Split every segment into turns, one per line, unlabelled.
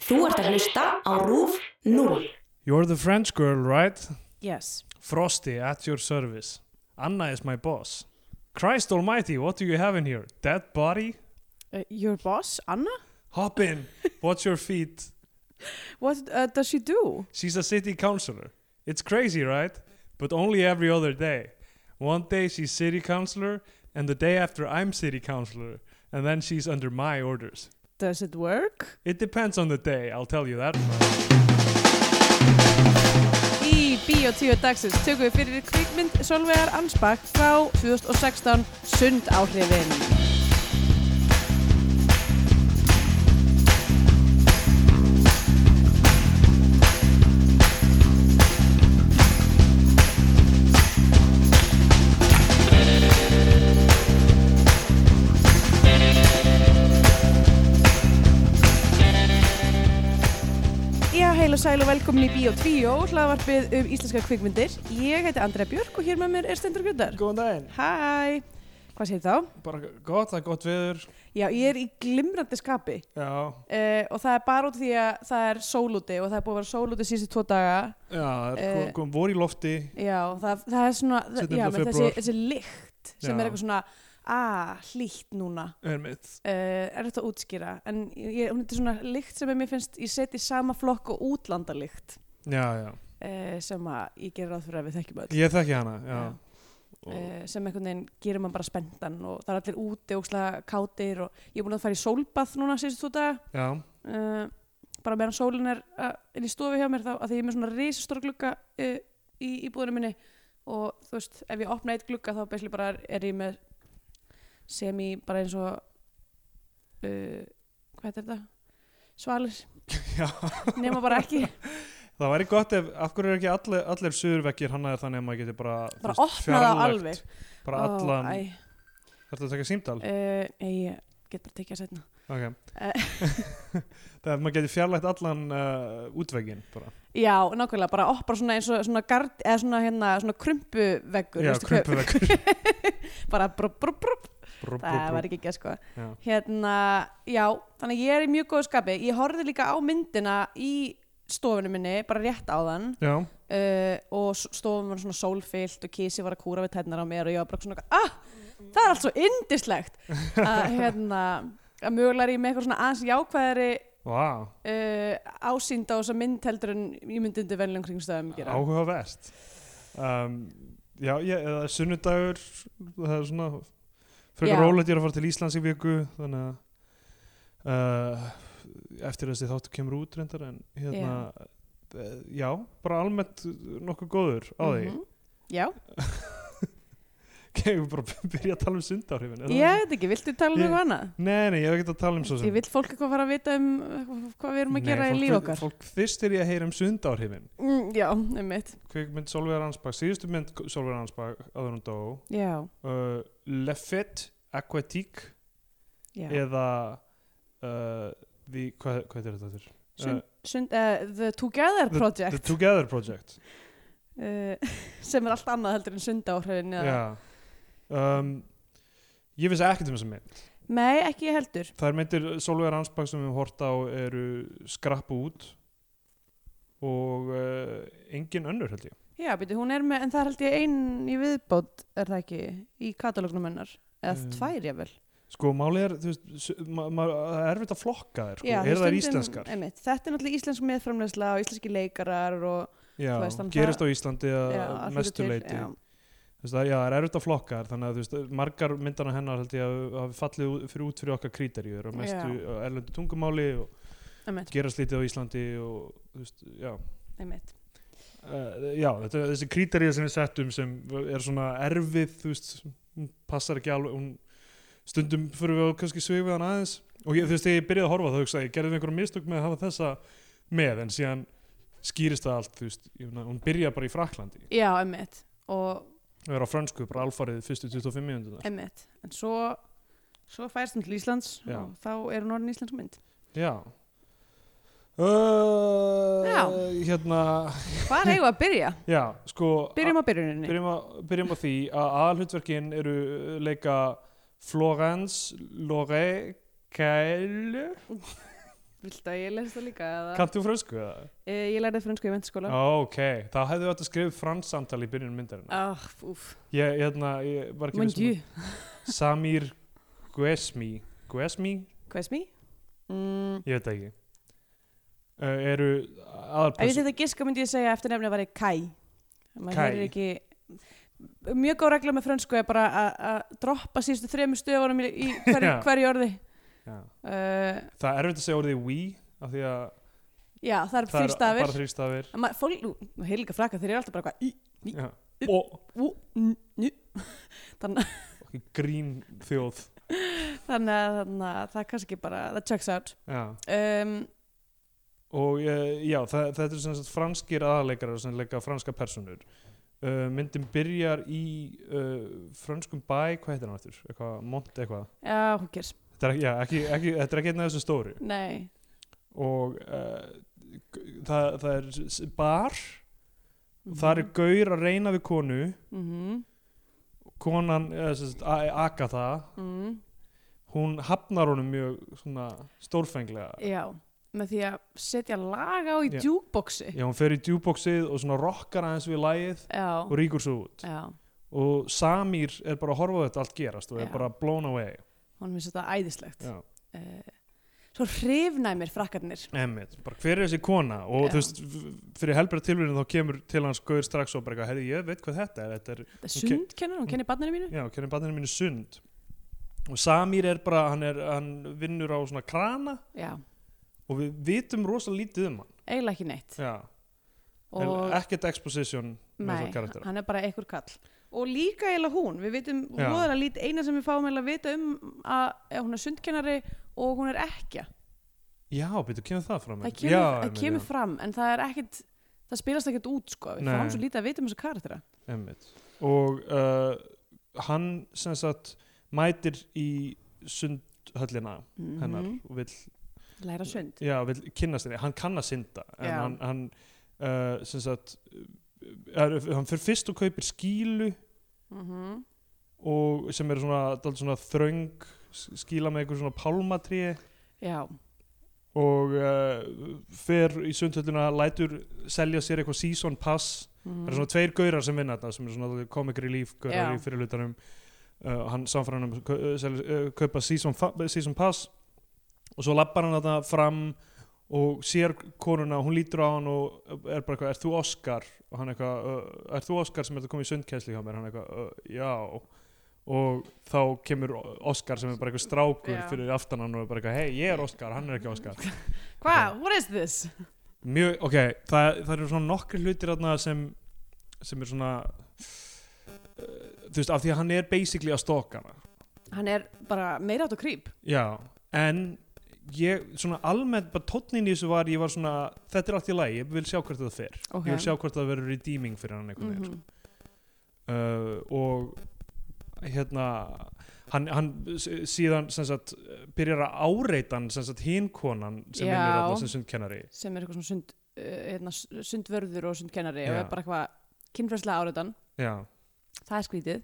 Þú ert að hlusta á RÚF 0.
You're the French girl, right?
Yes.
Frosty at your service. Anna is my boss. Christ almighty, what do you have in here? Dead body?
Uh, your boss, Anna?
Hop in. What's your feet?
What uh, does she do?
She's a city councilor. It's crazy, right? But only every other day. One day she's city councilor, and the day after I'm city councilor, and then she's under my orders.
Does it work?
It depends on the day, I'll tell you that.
Í Bíó 10 dagsins tökum við fyrir kvikmynd Solveigar Ansbach frá 2016 Sund áhrifin. Já, heil og sæl og velkomin í Bíó 10, hlaðvarpið um íslenska kvikmyndir. Ég heiti Andrea Björk og hér með mér er Stendur Gjöldar.
Góðan daginn.
Hæ, hvað séð þá?
Bara gott, það er gott viður.
Já, ég er í glimrandi skapi
Já,
uh, og það er bara út af því að það er sólúti og það er búið að vera sólúti síðustu tvo daga.
já, það er
Eh.
uh, kom vor í lofti.
Já, það, það er svona, það,
17.
já, með þessi,
febrúar.
þessi lykt sem
Já.
er eitthvað svona, að, hlýtt núna,
Er mitt.
uh, er þetta að útskýra, en ég, hún er svona lykt sem ég mér finnst, ég seti sama flokk og útlandalykt
Já, já.
uh, sem að ég gerir ráð fyrir að við þekkjum öll,
Ég þekki hana, já.
Já.
Og,
uh, sem einhvern veginn gerir maður bara spenntan og það er allir úti og slag kátir og ég er búin að fara í sólbath núna síðust þú dag,
já,
uh, bara meðan sólin er uh, inn í stofu hjá mér þá, að því ég er með svona risastóra glugga uh, í íbúðinu minni og þú veist, ef ég opna eitt glugga þá basically bara er, er ég með sem í bara eins og uh, hvað er þetta? Svalir,
já.
nema bara ekki
Það væri gott ef, af hverju er ekki allir, allir suðurvekkir hannaðir þannig að maður geti bara þú
bara
veist,
opna það
fjarlægt
alveg
Bara
Ó,
allan,
æ,
þarftu að taka símdal?
uh, ég get bara tekið að setna
Ok.
Eh.
það er að maður getur fjarlægt allan uh, útveginn bara.
já, nákvæmlega, bara opna svona eins og svona, gard, eða svona, hérna, svona krumpuveggur
Já,
veistu hvað-
krumpuveggur.
bara brú, brú, brú
Brú, brú,
það
brú.
var ekki ekki sko
Já.
hérna, já, þannig að ég er í mjög góðu skapi ég horfði líka á myndina í stofunum minni, bara rétt á þann
Já,
uh, og s- stofan var svona sólfyllt og kísi var að kúra við tætnar á mér og ég var bara svona, ah, það er allt svo indislegt að hérna að mögulega er ég með eitthvað svona aðeins jákvæðari
vá,
uh, ásýnd á þessa mynd heldur en ég myndi undir venlum kringstæðum gera
áhugavert. Um, já, ég, eða sunnudagur, það er svona,
Já.
frekar rólegt ég er að fara til Íslands í viku, þannig að uh, eftir þessi þáttu kemur út reyndar, en hérna, já, já bara almennt nokkuð góður á því. Mm
Mhm. já,
Kegum bara að byrja að tala um sundáhrifin.
ég veit ekki, viltu tala um
Ég-
eitthvað annað?
Nei, nei, ég hef ekki að tala um svo sem.
Ég vil fólk eitthvað fara að vita um uh, hvað við erum að gera
Nei,
í
fólk
líf
vil-
okkar.
Fólk fyrst er ég að heyra um sundárhifin
Mm, já, einmitt.
Kvikmynd Solveig Ransbach, síðustu mynd Solveig Ransbach áður hún dó
Já,
uh, Le Fête Aquatique
já.
eða uh, the, hvað, hvað er þetta þurr?
Sund, sund, uh, the Together Project
The Together Project
uh, sem er allt annað heldur en sundáhrifin.
Já,
eða-
Um, Ég vissi ekkert um þessa mynd
Nei, ekki ég heldur.
Þær myndir Solveig Ransbach sem við hort á eru skrappu út og uh, engin önnur held ég
Já, beti, hún er með, en það er held ég ein í viðbót, er það ekki, í katalógnum hennar. Eða
Um,
tvær, ég vel.
Sko, málið er, þú veist, su- ma- ma- það er erfitt að flokka þær, sko,
Já, því
er það
stundum-
íslenskar?
Einmitt, þetta er náttúrulega íslensk meðframleysla og íslenski leikarar og
Já,
þú veist, þannig
gerist á
það-
Íslandi að
já,
að
að hluta
mestu
til,
leiti.
já.
Þú veist, það- já, það er erfitt að flokka þær, þannig að, þú veist, margar myndana hennar held ég að hafi fallið út- fyrir út fyrir okkar kríterjur og mestu
Já.
á erlendu tungumáli og
Einmitt,
gerast lítið á Íslandi og, þú veist, já.
einmitt.
Uh, já, þetta, þessi kríterjur sem við settum sem er svona erfið, þú veist, hún passar ekki alveg, hún stundum fyrir við á kannski svifiðan aðeins og ég, þú veist, þegar ég byrjaði að horfa þá hugsaði ég gerði einhverjum mistök með að hafa þessa með en síðan skýrist það allt, þú veist, ég, meina, hún byrja bara í Fraklandi
Já, einmitt. Og
og er á fransku bara alfarið fyrstu 25 minútuna
Emmett, en svo svo færst hún til Íslands
Já.
og þá er hún orðin íslensk mynd
Já Uh,
Já.
hérna,
Hvað er eigum við að byrja?
já, sko
Byrjum á byrjuninni
byrjum, að, byrjum á því að aðalhutverkin eru
Uh.
leika Florence Loré Kælu
Viltu að ég lesi það líka? Eða...
Kanntu frönsku það?
E, ég lærði frönsku í mentaskóla.
Ok, þá hefðu þetta skrifið fransamtal í byrjunum myndarinn.
Ah, úf,
Ég, hérna, ég var ekki
mon dieu.
um- Samir Guesmi. Guesmi?
Hvað er smí? Mm,
Ég veit það ekki. Uh, eru
ef ég
aðalperson...
þetta giska myndi ég segja eftir nefnið var ég Kai.
Kai.
Kai. Ekki... Mjög góð regla með frönsku er bara að- að droppa síðustu þremur stöfunum í, í hverju,
Já.
hverju orði.
Já.
Uh,
Það er erfitt að segja orðið we, af því að
já, það er
það
þrý
er
stafir.
bara þrý stafir.
Ma, fólk, nú, nú heil líka fraka, þeir eru alltaf bara eitthvað í,
Já.
Í-
Og
ú, n, njú.
grín þjóð.
Þannig að þannig að það er kannski bara, það checks out.
Já.
Um,
og eh, já, þa þetta er sem sagt franskir aðaleikarar sem leika franska personur uh, myndin byrjar í uh, franskum bæ, hvað heitir hann aftur? Eitthvað, Mont eitthvað
já, hún kers.
þetta er, ekki- já, ekki, ekki, þetta er ekki einn af þessum stóru
Nei,
og uh, það, það er s- bar mm. það er gaur að reyna við konu
mm -hmm.
konan, eða sem sagt, A- Agatha
mm,
hún hafnar honum mjög svona stórfenglega
já, með því að setja lag á í
Já.
djúkboksi
já, hún fer í djúboksið og svona rokkar aðeins við lagið
já,
og ríkur svo út
já
og Samir er bara að horfa á þetta allt gerast og er
Já.
bara blown away
hún finnst þetta æðislegt
Já.
uh, svo hrifnæmir frakkarnir
Emmett, bara hver er þessi kona og
Já.
þú veist, f- fyrir helbrið tilvíðin þá kemur til hans gauður strax og bara eitthvað, herri ég veit hvað þetta er, þetta er
þetta er sundkennur, hún kennir barninu mínu
já, hvernig banninu mínu sund og Samir er bara, hann, er, hann vinnur á svona krana
já,
og við vitum rosa lítið um hann
eiginlega ekki neitt
já,
og
en ekkert exposition með
nei,
það karaktera
hann er bara einhver kall og líka eiginlega hún, við vitum
Já.
voðalega lít eina sem við fáum eiginlega að vita um að, að hún er sundkennari og hún er ekki
já, betur, kemur það fram
það
Emmett?
kemur,
já,
það
Emmett,
kemur fram en það er ekkit það spilast ekkert út sko, við
Nei.
fáum svo lítið að vita um þessu karaktera
Einmitt. og uh, hann sem sagt mætir í sundhöllina hennar
Mhm.
og vill,
læra sund
já, vill kynnast henni hann kann að synda en
Já.
hann, hann uh, sem sagt er, hann fyrir fyrst og kaupir skílu
mm
og sem er svona, dálítið svona þröng s- skíla með einhver svona pálmatrí
Já,
og uh, fer í sundhöllina lætur selja sér eitthvað season pass
mm
það eru svona tveir gaurar sem vinna þetta sem eru svona comic relief gaurar
Já.
í fyrirlutanum uh, hann samfæra hann um kau- uh, sel- uh, kaupa season, fa- season pass og svo lappar hann þetta fram og sér konuna, hún lítur á hann og er bara eitthvað, er þú Oscar og hann eitthvað, uh, er þú Oscar sem ert að koma í sundkensli hjá mér, hann eitthvað, uh, já og þá kemur Oscar sem er bara eitthvað strákur
Já.
fyrir aftan hann og er bara eitthvað, hei, ég er Oscar, hann er ekki Oscar
Hvað, what is this?
Mjög, ok, það, það eru svona nokkri hlutir þarna sem sem er svona uh, þú veist, af því að hann er basically að stalka hana
Hann er bara meira átt og krýp
Já, en ég, svona almennt, bara tónnin í þessu var ég var svona, þetta er allt í lagi, ég vil sjá hvert það fer
Ok.
ég vil sjá sko. hvort það verður redeeming fyrir hann
Mhm.
einhvern veginn uh, og hérna hann, hann s- síðan sem sagt byrjar að áreita hann sem sagt hinkonan sem
Já.
vinnur þarna sem sundkennari
Sem er eitthvað svona sund, uh, hérna, s- sundvörður og sundkennari og
Já.
er bara eitthvað kynfræslega áriðan
Já,
Það er skrítið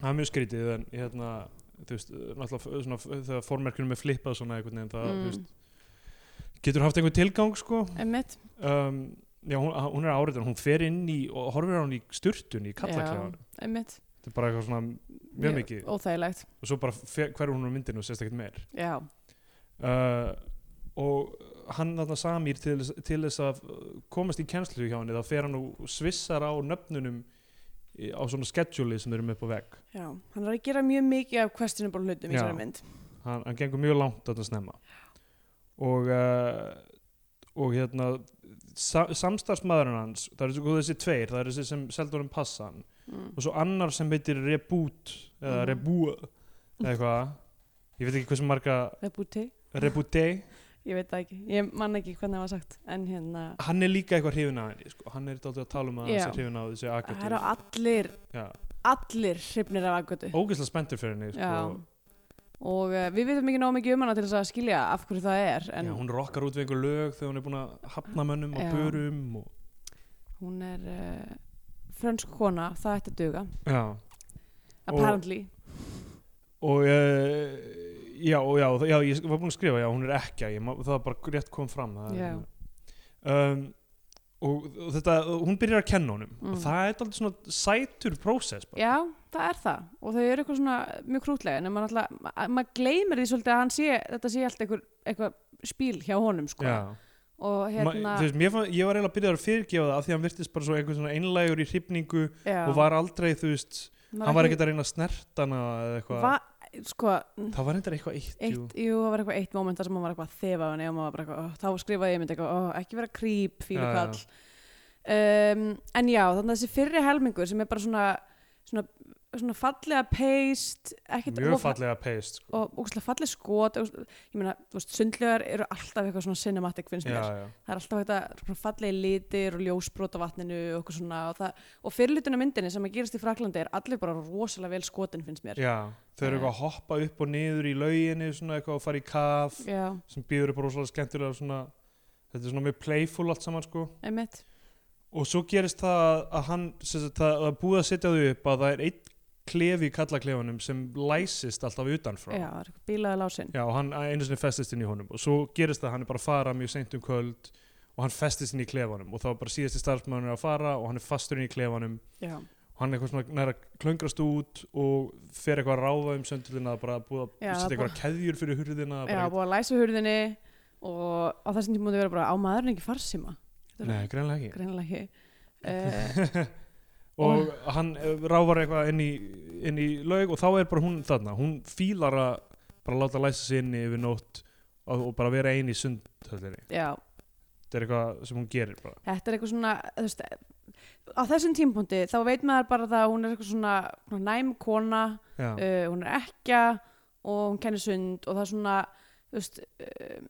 það er mjög skrítið en hérna þú veist, náttúrulega svona, þegar formerkjunum er flippað svona einhvern veginn það,
Mm.
þú veist getur haft einhvern tilgang sko
Einmitt
um, já, hún, hún er áriðan, hún fer inn í og horfir á hún í sturtun í kallaklefanum
Einmitt
þetta er bara eitthvað svona mjög mikið
Óþægilegt
og svo bara fer- hverfur hún á myndinu og sést ekkert meir
Já
uh, og hann þarna Samir til, þess- til þess að uh, komast í kennslu hjá henni þá fer hann og svissar á nöfnunum í- á svona schedule sem þeir eru með upp á vegg
Já, hann er að gera mjög mikið af questionable hlutum í
Já.
þessari mynd
hann, hann gengur mjög langt að snemma og uh, og hérna sa, samstarfsmaðurinn hans, það eru svo þessi tveir það eru þessi sem seldur um passan
mm.
og svo annar sem heitir Reboot eða
Mhm.
Reboot eða eitthvað ég veit ekki hversu marga
Rebuti,
Rebooté
ég veit það ekki Ég man ekki hvernig það var sagt En hérna,
hann er líka eitthvað hrifin af henni sko. hann er dálítið að tala um að hann
Já.
sé hrifin af þessi
það eru
agatúr
allir
Já.
Allir hrifnir af aðgötu
ógeðslega spenntur fyrir henni sko.
Já. Og uh, við veitum ekki nóg mikið um hana til þess að skilja af hverju það er, en
Já,
hún,
hún rokkar út við einhver lög þegar hún er búin að hafna mönnum og
Já.
börum og...
er uh, frönsk kona, það ætti að duga,
Já. Og-
apparently.
og uh, já, já, þa- já, ég var búin að skrifa já, hún er ekki, ég, má- það bara rétt kom fram það,
Já.
um, og og þetta, hún byrjar að kenna honum
Mm.
og það er alltaf svona sætur prósess bara.
Já, það er það og þau eru eitthvað svona mjög krútlega en maður alltaf, ma- maður gleymir því svolítið að hann sé, þetta sé allt eitthvað, eitthvað spíl hjá honum sko
Já.
og hérna,
Ma, þú veist, mér fann, ég var eiginlega að byrja að fyrirgefa það af því að hann virtist bara svo einhver svona einlægur í hrifningu
já,
og var aldrei, þú veist, hann var ekkert að reyna að snerta hana eða eitthvað,
va, sko,
það var eitthvað eitthvað eitt, jú.
eitt, jú, það var eitthvað eitt moment þar sem hann var eitthvað að þefa hann eða maður var bara eitthvað, ó, þá skrifaði ég myndi eitthvað, ó, ekki vera krýp, fílu
Já, já.
kall um, en já, þannig að þessi fyrri helmingur sem er bara svona svona, svona fallega peist ekkert
mjög
of-
fallega peist sko.
og úkstlega falleg skot og, ég meina, þú veist, sundlegar eru alltaf eitthvað svona cinematic finnst
já,
mér,
já.
það er alltaf eitthvað fallegi litir og ljósbrot á vatninu og eitthvað svona og, það, og fyrirlutinu myndinni sem að gerast í Fraklandi er allir bara rosalega vel skotin finnst mér
já, þau eru
Eh.
eitthvað að hoppa upp og niður í lauginni svona eitthvað og fara í kaf
já
sem býður upp rosalega skemmtilega svona, þetta er svona mjög playful allt saman sko
einmitt,
og svo gerist það að hann sem sagt, það, það er búið að setja þau upp að það er einn klefi í kallaklefanum sem læsist alltaf utanfrá
já, það er eitthvað bílaði lásin
Já, og hann einu sinni festist inn í honum og svo gerist það að hann er bara að fara mjög seint um kvöld og hann festist inn í klefanum og þá er bara síðasti starfsmæður að fara og hann er fastur inn í klefanum
já,
og hann er eitthvað svona næra klöngrast út og fer eitthvað að ráfa um söndulina bara búið
Já,
að setja
bara-
eitthvað keðjur fyrir hurðina
já,
bara,
búið að læsa hurðinni og á þessum tímum múti vera bara á maðurinn ekki farsíma Þetta er
Nei, greinlega ekki
greinilega ekki uh,
og hann eh, ráfar eitthvað inn í, inn í laug og þá er bara hún þarna hún fílar að bara láta læsa sig inni yfir nótt og, og bara vera ein í sundhöllinni
já,
þetta er eitthvað sem hún gerir bara
þetta er eitthvað svona þú veist, á þessum tímpunkti þá veit maður bara það að hún er eitthvað svona, svona næm kona
Já.
uh, hún er ekkja og hún kennir sund og það er svona þú veist um,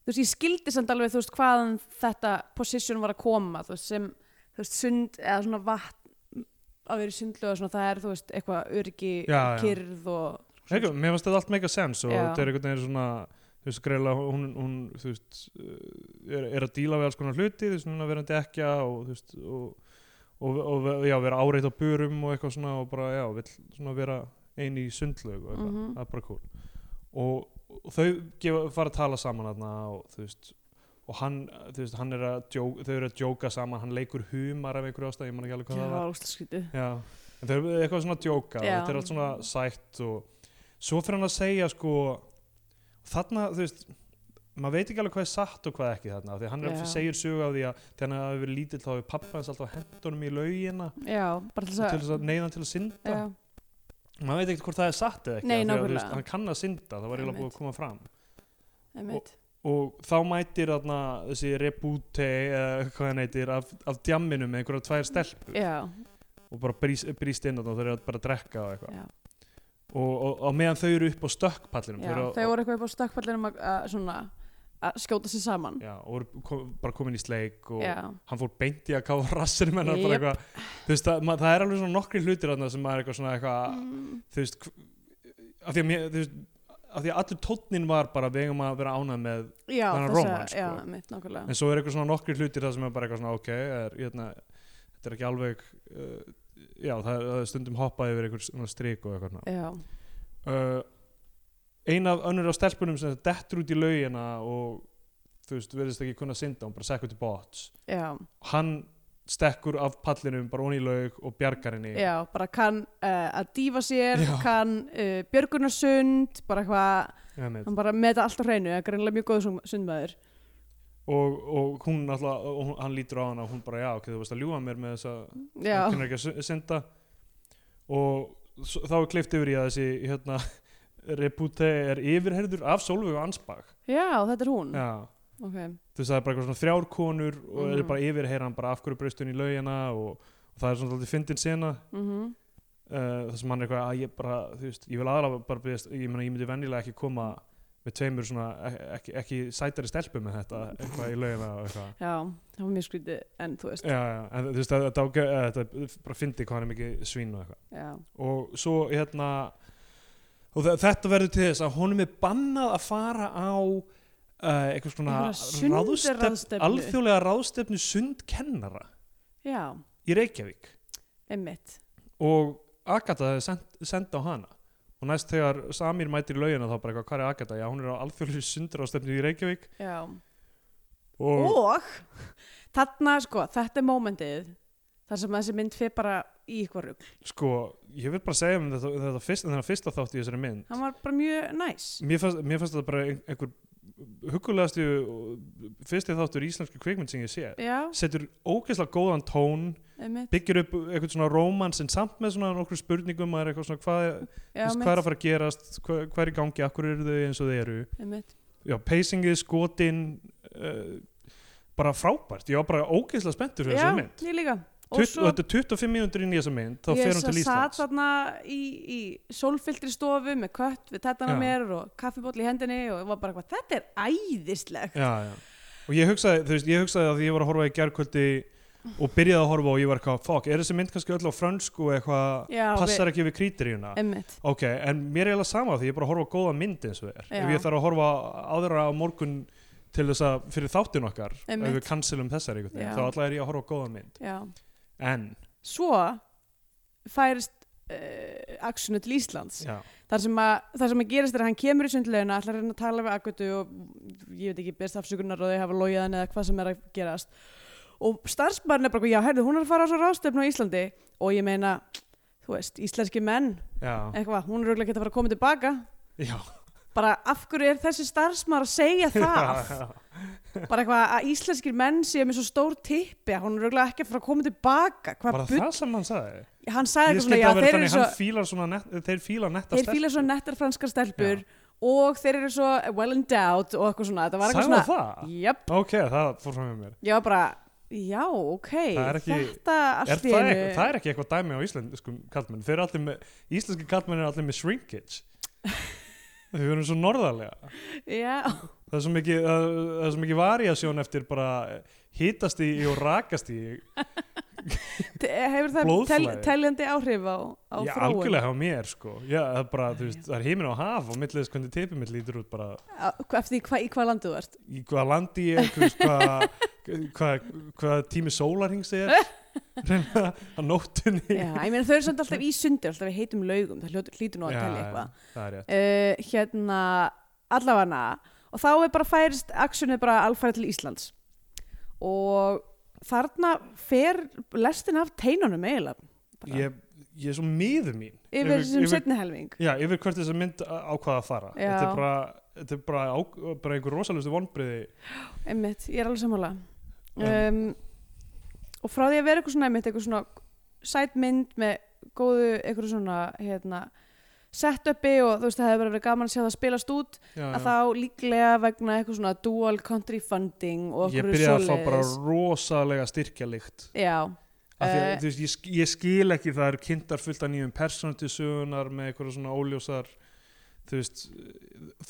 þú veist, ég skildi samt alveg þú veist hvaðan þetta position var að koma þú veist, sem þú veist, sund eða svona vatn að vera í sundlu og svona það er þú veist eitthvað öryggi,
Já, já.
kyrð og
Eitthvað, mér finnst þetta allt make a sense og
Já.
þetta er einhvern veginn svona þú veist, greiðlega hún, hún þú veist, uh, er, er að díla við alls konar hluti þú veist, hún er verandi ekki og, þú veist, og, og, og, já, vera áreitt á burum og eitthvað svona og bara, já, vill svona vera ein í sundlaug og eitthvað,
Mhm.
það er bara cool og, og þau gefa, fara að tala saman þarna og þú veist og hann, þú veist, hann er að djóka, þau eru að djóka saman, hann leikur humar af einhverju ástæð, ég man ekki alveg hvað
já,
það var
ósla skrítið
Já, en þau eru eitthvað svona að djóka og
Já.
þetta er allt svona sætt og svo fyrir hann að segja sko þarna, þú veist maður veit ekki alveg hvað er satt og hvað ekki þarna af því að hann er,
Já.
segir sögu af því að þegar hann hafi verið lítill þá hefur pappa hans alltaf hent honum í laugina
já, bara til
til
þess
þess að neyða hann til að synda
að
maður veit ekki hvort það er satt eða ekki
Nei,
af því að, þú
nákvæmlega.
veist, hann kann að synda, það var eiginlega búið
Einmitt.
að koma fram
einmitt.
og þá mætir þarna þessi rebúte eða hvað hann heitir af, af djamminu með einhverja tvær stelpur
já,
og bara brýst, brýst inn þarna og þau eru bara að drekka og eitthvað
já.
og, og, og meðan þau eru upp á stökkpallinum
já.
eru á-
þau voru eitthvað upp á stökkpallinum að- að svona að skjóta sér saman
já, og voru kom, bara komin í sleik og
já,
hann fór beint í að kafa rassir menn yep.
Jep.
eitthvað, þú veist, það, mað, það er alveg svona nokkri hlutir þarna sem maður er eitthvað svona eitthvað
Mm,
þú veist, hv- af því að mér, þú veist af því að allur tónnin var bara við eigum að vera ánað með
já
Þannig að
þessa-
romance, sko.
já, einmitt, nákvæmlega
en svo er eitthvað svona nokkri hlutir það sem er bara eitthvað svona ok, er, hérna, þetta er ekki alveg uh, já, það er, það er stundum hoppað yfir einhver svona strik og eitthvað svona.
Já,
uh, eina af önnur á stelpunum sem dettur út í laugina og þú veist, verðist ekki kunna synda hún bara sekkur til bots
já,
hann stekkur af pallinum bara onni í laug og bjargar henni
já, bara kann uh, að dífa sér,
Já.
kann uh, björgunarsund, bara eitthvað,
Einmitt.
hann bara með þetta allt á hreinu, það er greinlega mjög góð sund- sundmaður.
og, og hún alltaf, og hún- hann lítur á hana og hún bara, já, ok, þú veist að ljúga mér með þess að
Já,
hann kynir ekki að sy- synda og s- þá er kleift yfir í að þessi hérna, repute er yfirherður af Solveig og Ansbach
já, þetta er hún.
já
Ok,
þú veist það er bara eitthvað svona þrjár konur og mm.
Mhm.
er bara yfirheyra hann bara af hverju braustun í laugina og, og það er svona alltaf fyndin sena uh,
mm
það sem hann er eitthvað að ég bara þú veist, ég vil aðalega bara byrjast, ég meina ég myndi venjulega ekki koma með tveimur svona ek- ekki, ekki sætari stelpu með þetta eitthvað í laugina og eitthvað
já, það var mjög skrítið, en þú veist,
já, já, en þú veist þetta, eh, þetta, þetta er bara fyndi hvað hann er mikið svín og eitthvað
já,
og svo hérna og þe- þetta verður til þess að honum er bannað að fara á Uh, eitthvað svona
Einhverja
ráðstefn-
sundraráðstefnu.
alþjóðlega ráðstefnu sundkennara
já,
í Reykjavík
einmitt,
og Agatha send, senda á hana og næst þegar Samir mætir í laugina þá bara eitthvað, hvað er Agatha? Já, hún er á alþjóðlega sundur í Reykjavík
Já.
og
og þarna sko, þetta er mómentið þar sem þessi mynd fyrir bara í ykkur rugg
sko, ég vil bara segja um þetta, þetta fyrst, þennan fyrsta þátt í þessari mynd
hann var bara mjög næs
mér fannst, mér fannst þetta bara ein- einhver hugulegasti fyrsti þáttur íslenski kvikmynd sem ég sé
já,
setur ógeðslega góðan tón
einmitt
byggir upp eitthvað svona rómans en samt með svona nokkur spurningum maður er eitthvað svona hvað, já,
já,
hvað er að fara að gerast hvað, hvað er í gangi, akkur eru þau eins og þau eru
einmitt
já, pacingið, skotin uh, bara frábært ég var bara ógeðslega spenntur fyrir
já,
þessari mynd
ég líka
Tutt, og þetta er 25 mínútur inn í þessa mynd þá fer hún til
Ég satt
Íslands
þarna í, í sólfyldri stofu með kött við
Já.
tettana mér og kaffibóll í hendinni og var bara hvað, þetta er æðislegt
já, já. og ég hugsaði, þú veist, ég hugsaði að því ég var að horfa í gerkvöldi og byrjaði að horfa og ég var eitthvað, fuck, er þessi mynd kannski öll á frönsku eitthvað,
Já,
passar ekki við krítiríuna
einmitt
ok, en mér er eiginlega sama því ég er bara að horfa á góða mynd eins og er
Já.
ef ég þarf að horfa á aðra á morgun til þess að fyrir þáttin okkar
Einmitt.
ef við cancelum þessar einhvern
Já.
veginn, þá alltaf er ég að horfa á góða mynd
já.
en,
svo færist uh, aksunu til Íslands
já,
þar sem, að, þar sem að gerist er að hann kemur í sundleguna ætlar að reyna að tala við Agutu og ég veit ekki best afsökunar og þau hafa logið hann eða hvað sem er að gerast og starfsbarn er bara, eitthvað, já, herðu, hún er að fara á svo ráðstöfnu á Íslandi og ég meina, þú veist, íslenski menn
já,
eitthvað, hún er auðvitað að fara að koma tilbaka
já,
bara af hverju er þessi starfsmaður að segja það
já.
bara eitthvað að íslenskir menn séu með svo stór tippi að hún er auðvitað ekki að fara að koma tilbaka
var
hvað
það
bull,
það sem hann sagði?
hann sagði
ég
eitthvað svona,
skildi
já,
að vera
þeir
þannig,
eru
svo...
svo
hann fílar svona net, þeir fíla netta
þeir fíla svo nettar franskar stelpur og þeir eru svo well endowed og eitthvað svona, þetta var
sagði svona...
eitthvað svona
það?
jöp,
ok, það fór fram með mér
ég var bara já, ok,
Það er ekki-
þetta
Er
allt í
það, ekki,
einu
það er ekki eitthvað dæmi á íslenskum kallmenn Þeir eru allir með, íslenski kallmenn er allir með shrinkage Þau eru svo norðarlega
já,
Það er svo mikið, það það er svo mikið variasjón eftir bara hítast í og rakast í
hefur það tel,
Blóðflæði.
teljandi áhrif á, á
Já,
þróun
algjörlega á mér sko Já, það er bara, þú veist, það er heimin á haf og millið þess hvernig tipið mitt lítur út bara
Á- eftir því hva, í hvað landu þú ert
í hvaða landi ég, þú veist, hvað hvað hva tími sólarhings er reyna að nóttunni
já, ég meina þau eru samt alltaf í sundi alltaf við heitum laugum, það hljótur- hlýtur nú að
Já,
telja
já,
eitthvað
það er rétt
uh, hérna allafana og þá er bara færist aksjónið bara alfæri til Íslands og þarna fer lestin af teinunum eiginlega bara
ég, ég er svo miður mín
yfir þessum
yfir,
setni helming
Já, yfir hvert þess að mynd ákvaða að fara
Já.
Þetta er bara, þetta er bara, á, bara einhver rosalustu vonbriði
einmitt, ég er alveg sammála
Um.
um, og frá því að vera eitthvað svona einmitt, eitthvað svona sæt mynd með góðu eitthvað svona hérna, setupi og þú veist það hefur bara verið gaman að sjá það spilast út
já,
að þá líklega vegna eitthvað svona dual country funding og
ég
eitthvað
byrjaði að fá bara rosalega styrkjalikt
já,
af því að
Eh.
þú veist, ég, sk- ég skil ekki það er kynntar fullt af nýjum persónutisögunar með eitthvað svona óljósar þú veist,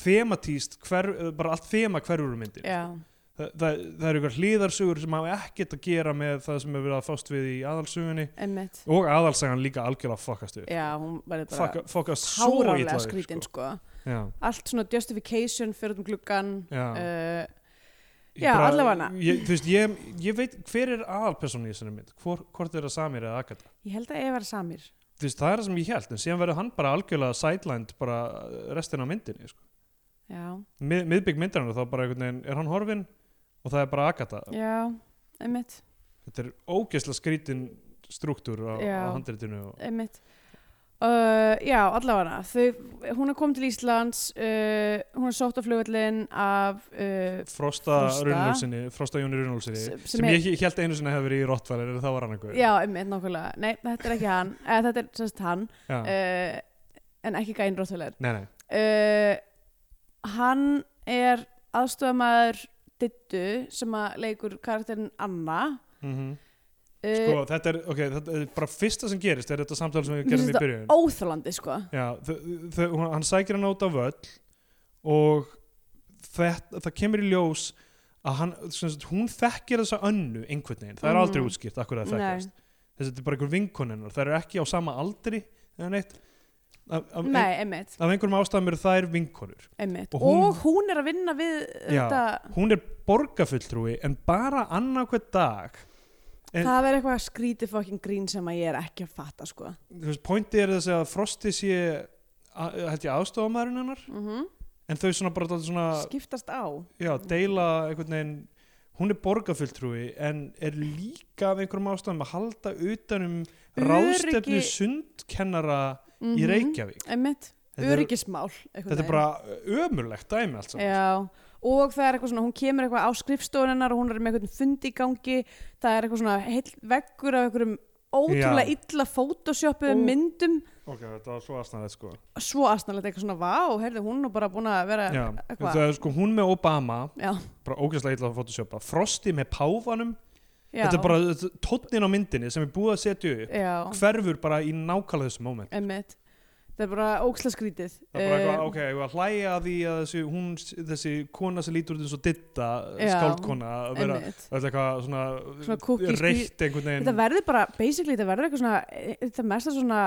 thematíst hver, bara allt þema hverjur myndin
já,
Þa, það, það eru eitthvað hlýðarsögur sem hafa ekkert að gera með það sem er verið að fást við í aðalsögunni
einmitt
og aðalsagan líka algjörlega fokkast við
já, hún var bara
Fokka- fokkast svo illa
hárálega
upp,
skrítin
sko.
sko.
já,
allt svona justification fyrir um gluggan
já,
uh,
Ég
já, allavana.
ég, þú veist, ég, ég veit hver er aðalpersónu í þessari mynd Hvor, hvort er það Samir eða Agatha
ég held að ég var samir
þú veist, það er það sem ég held en síðan verður hann bara algjörlega sidelined bara eh, restin af myndinni sko.
já,
Mið, miðbygg myndarinnar þá bara einhvern veginn er hann horfinn og það er bara Agatha
já, einmitt
þetta er ógeðslega skrítin struktúr á,
Já.
á handritinu og,
einmitt uh, já, allavega þau, hún er komið til Íslands uh, hún er sótt á flugvöllin af uh,
Frosta
Frosta.
Runulsinni Frosta Jóni Runulsinni
Sem-
sem,
sem
ég he- held einu sinni hefði verið í Rottvælir en það var hann einhver
já, einmitt nákvæmlega, nei, þetta er ekki hann eða, þetta er sérst hann
Já.
uh, en ekki gæinn róttulegur
Nei, nei.
uh, hann er aðstofamaður Dittu sem að leikur karakterin Anna
Mm
uh,
sko, þetta er, ok, þetta er bara fyrsta sem gerist er þetta samtal sem við
Mér
gerum
finnst
í byrjun
þetta óþalandi sko
Já, þau- þau- hún- hann sækir hann út af völl og þetta, það kemur í ljós að hann, sem sagt, hún þekkir þessa önnu einhvern veginn, það er
Mhm.
aldrei útskýrt akkur það
Nei.
þekkjast, þess að þetta er bara einhver vinkonennar það eru ekki á sama aldri eða neitt af, af, ein,
nei, einmitt,
af einhverjum ástæðum eru þær vinkonur
einmitt.
Og
Og,
hún-
hún, er að vinna við
Já.
þetta,
hún er borgarfulltrúi en bara annarkvæð dag En-
það er eitthvað skrítið fucking grín sem að ég er ekki að fatta sko
þú veist, pointi er þess að Frosti sé a- held ég aðstofamærin hennar
mm
en þau svona bara dálítið svona
skiptast á
já, deila einhvern veginn hún er borgarfulltrúi en er líka af einhverjum ástæðum að halda utanum
Öryggi-
ráðstefnu sundkennara
mm
í Reykjavík
einmitt,
þetta er,
öryggismál
þetta er bara ömurlegt dæmi allt saman
Já, og það er eitthvað svona, hún kemur eitthvað á skrifstofunar og hún er með eitthvað fund í gangi, það er eitthvað svona heill veggur af eitthvað ótrúlega
Já.
illa photoshopu
Og-
myndum
ok, þetta var svo aðsnaðið sko
svo aðsnalegt eitthvað svona, vá, heyrðu, hún er nú bara búin að vera
já,
eitthvað,
það er sko hún með Obama
já,
bara ógæslega illa að photoshopa Frosti með páfanum
já,
þetta er bara tónnin á myndinni sem er búið að setja upp
já,
hverfur bara í nákvæmlega þessu moment
emmitt það er bara óksla skrítið
það er bara eitthvað,
Eh,
ok, ég var að hlæja að því að þessi, hún, þessi kona sem lítur út eins og ditta,
Já,
skáldkona að vera,
einmitt.
þetta er eitthvað svona,
Svona kúkí-
reykt einhvern
Þetta
veginn
verður bara, basically, þetta verður eitthvað svona, eh, þetta mesta svona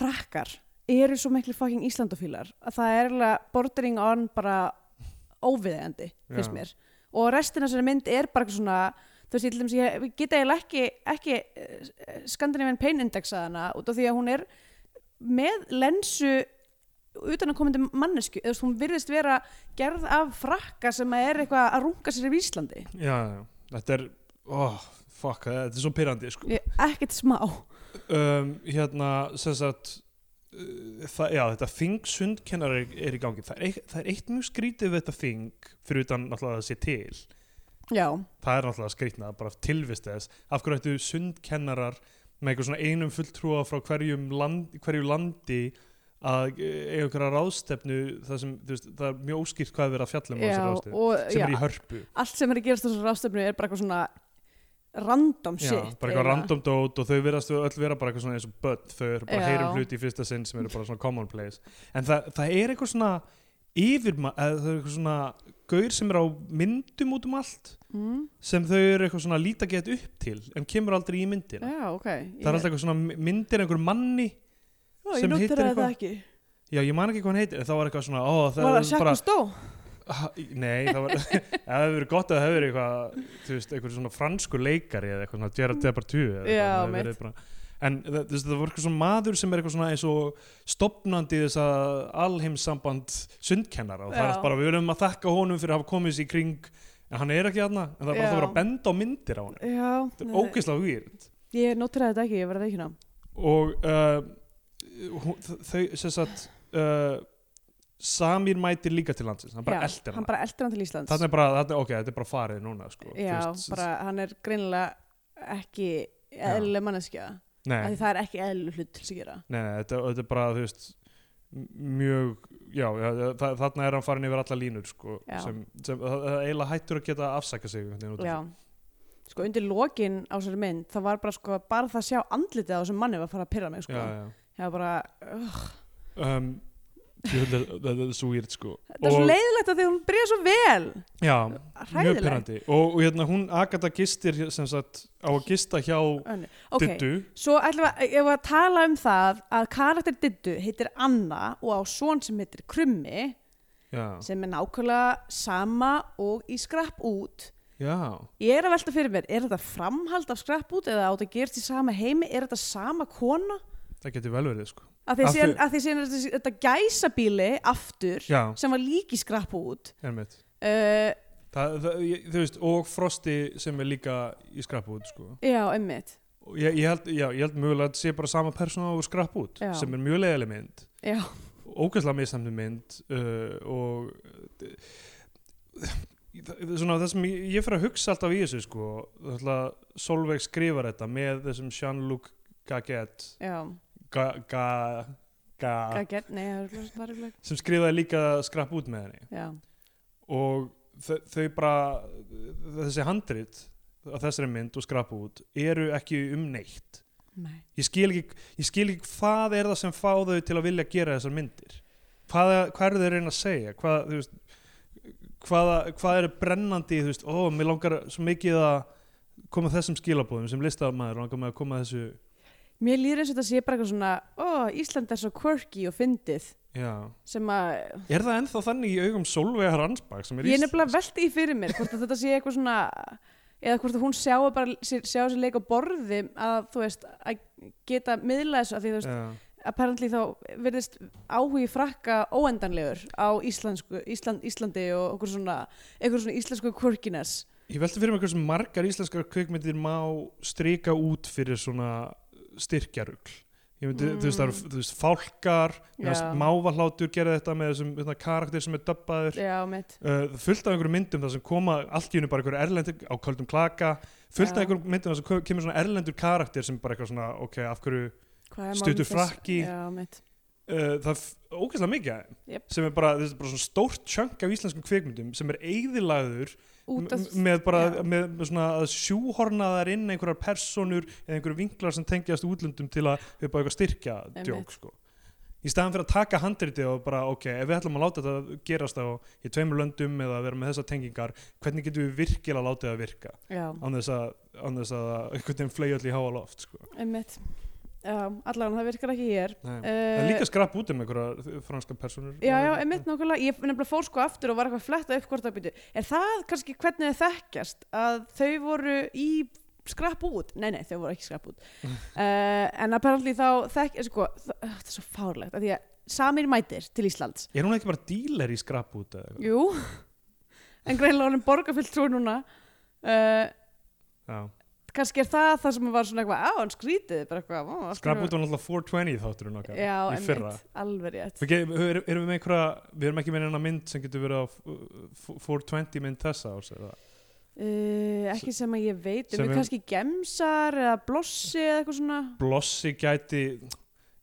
frakkar eru svo miklu fucking Íslandofílar að það er eiginlega bordering on bara óviðeigandi, finnst
Já.
mér. Og restin af þessari mynd er bara eitthvað svona, þú veist, ég til dæmis, ég ég get eiginlega ekki, ekki eh, Scandinavian Pain Index að hana út af því að hún er með lensu utan að komandi mannesku, eða þú veist, hún virðist vera gerð af frakka sem að er eitthvað að runga sér í Íslandi.
já, já, þetta er, oh, fuck, þetta er svo pyrrandi sko.
Ég- Ekkert smá.
um, hérna, sem sagt uh, það, já, þetta þing sundkennar er, er í gangi, það er, eitt, það er eitt mjög skrítið við þetta þing, fyrir utan náttúrulega að það sé til,
Já.
það er náttúrulega skrítna bara tilvist þess, af hverju ættu sundkennarar með einhver svona einum fulltrúa frá hverjum land, hverju landi að eh, eiga einhverja ráðstefnu það sem, þú veist, það er mjög óskýrt hvað er verið að fjalla um á
Já,
þessari ráðstefnu,
og,
sem
já,
er í hörpu
allt sem er að gerast á þessari ráðstöfnu er bara eitthvað svona random
já,
shit
bara eitthvað random dót og þau verðast þau öll vera bara eitthvað svona eins og börn, þau eru bara að
Já.
heyra um hluti í fyrsta sinn sem eru bara svona commonplace en það, það er eitthvað svona yfirma, eða það er eitthvað svona gaur sem er á myndum út um allt
mm,
sem þau eru eitthvað svona líta gett upp til en kemur aldrei í myndina
já, ok
Það er alltaf eitthvað svona myndir af einhverjum manni
já,
sem
ég
hittir
notur að
eitthvað.
það ekki
Já, ég man ekki hvað hann heitir, en það var eitthvað svona ó, það
var
var
það Shack
bara,
og Stó
Ha, Nei, það var ja, Það hefur verið gott að það hefur verið eitthvað þú veist, eitthvað svona fransku leikari eða eitthvað svona Gerard Depardieu eða
Já,
eitthvað, það hefur
mitt.
verið bara- En það, þú veist, það var eitthvað svona maður sem er eitthvað svona eins og stopnandi þess að alheimssamband sundkennar og það er
Já.
allt bara, við viljum að þakka honum fyrir að hafa komið sér í kring en hann er ekki þarna, en það er bara
Já.
alltaf að vera að benda á myndir á hann
já,
Þetta
nei,
er ógeðslega weird
ég notur að það ekki, ég verði ekki ná
og uh, hún- þ- þau sem sagt uh, Samir mætir líka til landsins hann bara
Já,
eldir
hann
hana
bara eldir hann til Íslands
þannig er bara, þetta, ok, þetta er bara farið núna sko. Þú
já,
veist,
bara hann er greinilega ekki eðlileg manneskja
nei,
af
nei,
því það er ekki eðlileg hlut til þess að gera
nei, þetta, þetta er bara þú veist, m- mjög já, já, þa- þarna er hann farin yfir alla línur sko,
Já.
sem, sem það- það eiginlega hættur að geta að afsaka sig einhvern veginn út af
já sko undir lokin á þessari mynd það var bara sko, bara það að sjá andlitið á þessum manni var að fara að pyrra mig
þessu.
sko.
já,
já,
já.
já. bara, uh,
Um, ég held að- þetta þetta er svo weird sko.
það er svo
Og-
leiðilegt að því hún byrja svo vel
já, mjög
hræðilegt
pyrrandi og, og hérna hún Agatha gistir sem sagt á að gista hjá
Önnu. ok,
Diddu
svo ætlum við að, ég var að tala um það að karakter Dittu heitir Anna og á son sem heitir Krummi
já.
sem er nákvæmlega sama og í skrapp út
Já,
ég er að velta fyrir mér, er þetta framhald af skrapp út eða átt að gerast í sama heimi er þetta sama kona
það getur vel verið sko.
að því
Af
að síðan,
því-
að því síðan er þetta, þetta gæsabíli aftur
Já,
sem var líki skrapp út
einmitt.
uh,
Það, það, ég, þú veist, og Frosti sem er líka í skrappút sko.
já, einmitt
Og ég, ég, held, já, ég held mögulega að þetta sé bara sama persóna og skrappút
Já.
sem er mjög leiðileg mynd
já,
ógæslega misnæmdu mynd uh, og uh, það- svona það sem ég, ég fyrir að hugsa alltaf í þessu sko, ætla, Solveig skrifar þetta með þessum Jean-Luc Gaguet
já,
ga, ga, ga,
hvað gert, nei, það er örugglega- það er örugglega-
sem skrifaði líka skrappút með henni
já,
og þau, þau bara þessi handrit að þessari mynd og skrapu út eru ekki um neitt
nei
ég skil, ekki, ég skil ekki hvað er það sem fá þau til að vilja gera þessar myndir hvað, hvað eru þau að reyna að segja hvað, þú veist, hvaða, hvað er brennandi þú veist, ó, mér langar svo mikið að koma þessum skilabóðum sem listamæður langar mig að koma þessu
Mér líður eins og þetta sé bara eitthvað svona ó, Ísland er svo quirky og fyndið
já.
sem að,
er það ennþá þannig í augum Solveigar Ansbak sem er
ég er nefnilega velti í fyrir mér hvort að þetta sé eitthvað svona eða hvort að hún sjá bara, sé- sjá sér leik á borði að þú veist, að geta miðla þessu að því þú veist,
já,
apparently þá verðist áhugi frakka óendanlegur á íslensku, Ísland, Íslandi og okkur svona, einhver svona íslensku quirkiness
Ég velti fyrir mig hversu margar íslenskar kvikmyndir má strika út fyrir svona styrkjarugl. Ég myndi,
Mm.
þú veist, það eru, þú veist, fálkar,
Já.
yeah. mávahlátur gera þetta með þessum hérna, karakter sem er döbbaður.
Já, mitt
Uh, fullt af einhverjum myndum þar sem koma allt í hennu bara einhverjum erlendur á köldum klaka, fullt af
Já.
einhverjum myndum þar sem ko- kemur svona erlendur karakter sem bara eitthvað svona, ok, af hverju,
Hvað er málið
Stuttur
þess-
frakki.
Já, mitt
uh, það er ógæslega mikið af þeim,
Jep.
sem er bara, þetta er bara svona stórt tjönk af íslenskum kvikmyndum sem er eigðilagður
Út af
M- með bara
já.
með, með svona að sjúhorna þar inn einhverjar personur eða einhverjar vinklar sem tengjast útlöndum til að við bara eitthvað styrkja
Einmitt.
djók sko. í staðan fyrir að taka handritið og bara ok, ef við ætlum að láta þetta gerast á í tveimur löndum eða vera með þessar tengingar hvernig getum við virkilega að láta það virka
Já,
án þess að, án þess að einhvern veginn flegi öll í háa loft sko.
einmitt Já, allavega það virkar ekki hér
Nei. það er
uh,
líka skrapp út um einhverjar franska personur
Já, já, einmitt nákvæmlega, ég nefnilega fór sko aftur og var eitthvað að fletta upp hvort að byrju Er það kannski hvernig þau þekkjast að þau voru í skrapp út? Nei, nei, þau voru ekki skrapp út uh, En apparently þá þekk, sko, það, það er svo fárlegt að Því að Samir mætir til Íslands
er hún ekki bara díler í skrapp út eða eitthvað?
Jú, en greinlega honum borgarfyllt trú núna uh,
Já.
Kannski er það það sem var svona eitthvað, á, hann skrítið bara eitthvað, "Ó, af
skrapp
hverju-
út var náttúrulega 420 þátturinn okkar
Já,
í fyrra
einmitt, alveg rétt
Við ge- við- Erum erum við með einhverja, við erum ekki með einhverja mynd sem getur verið á uh, 420 mynd þessa árs eða?
Uh, ekki sem að ég veit um,
Sem
við
er-
kannski gemsar eða blossi eða eitthvað svona
Blossi gæti,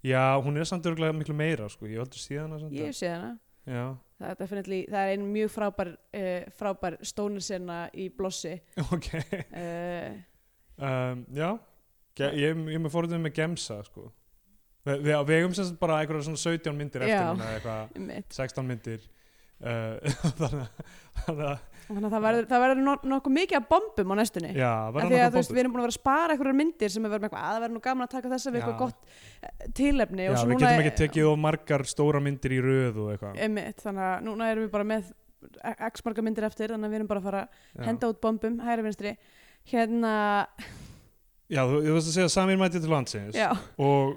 já hún er samt örgulega miklu meira sko, ég heldur síðan að samt
ég hef séð hana
Já,
það er, definitely, það er ein mjög frábær, uh, frábær stónisena í blossi
ok,
uh,
um, já, Ge ég, ég, er með fórhundum með Gemsa sko. Við, við, við eigum sem sagt bara einhverja svona 17 myndir eftir
Já.
núna eða eitthvað,
um mitt
16 myndir. Uh, þannig að- þannig að,
þannig að það verður- það verður no nokkuð mikið að bombum á næstunni
já,
Eh, Af
verða
því að þú
náttúrulega
veist, við erum búin að vera að spara einhverjar myndir sem við verðum eitthvað, að það verður nú gaman að taka þessa við
Já.
eitthvað gott eh, tilefni
Já,
og svo
við
núna Eh,
getum ekki tekið of margar stóra myndir í röð og eitthvað.
einmitt, þannig að núna erum við bara með x marga myndir eftir, þannig að við erum bara að fara að
Já.
henda út bombum, hægri vinstri hérna,
Já, þú, þú veist að segja Samir mæti til landsins
já
og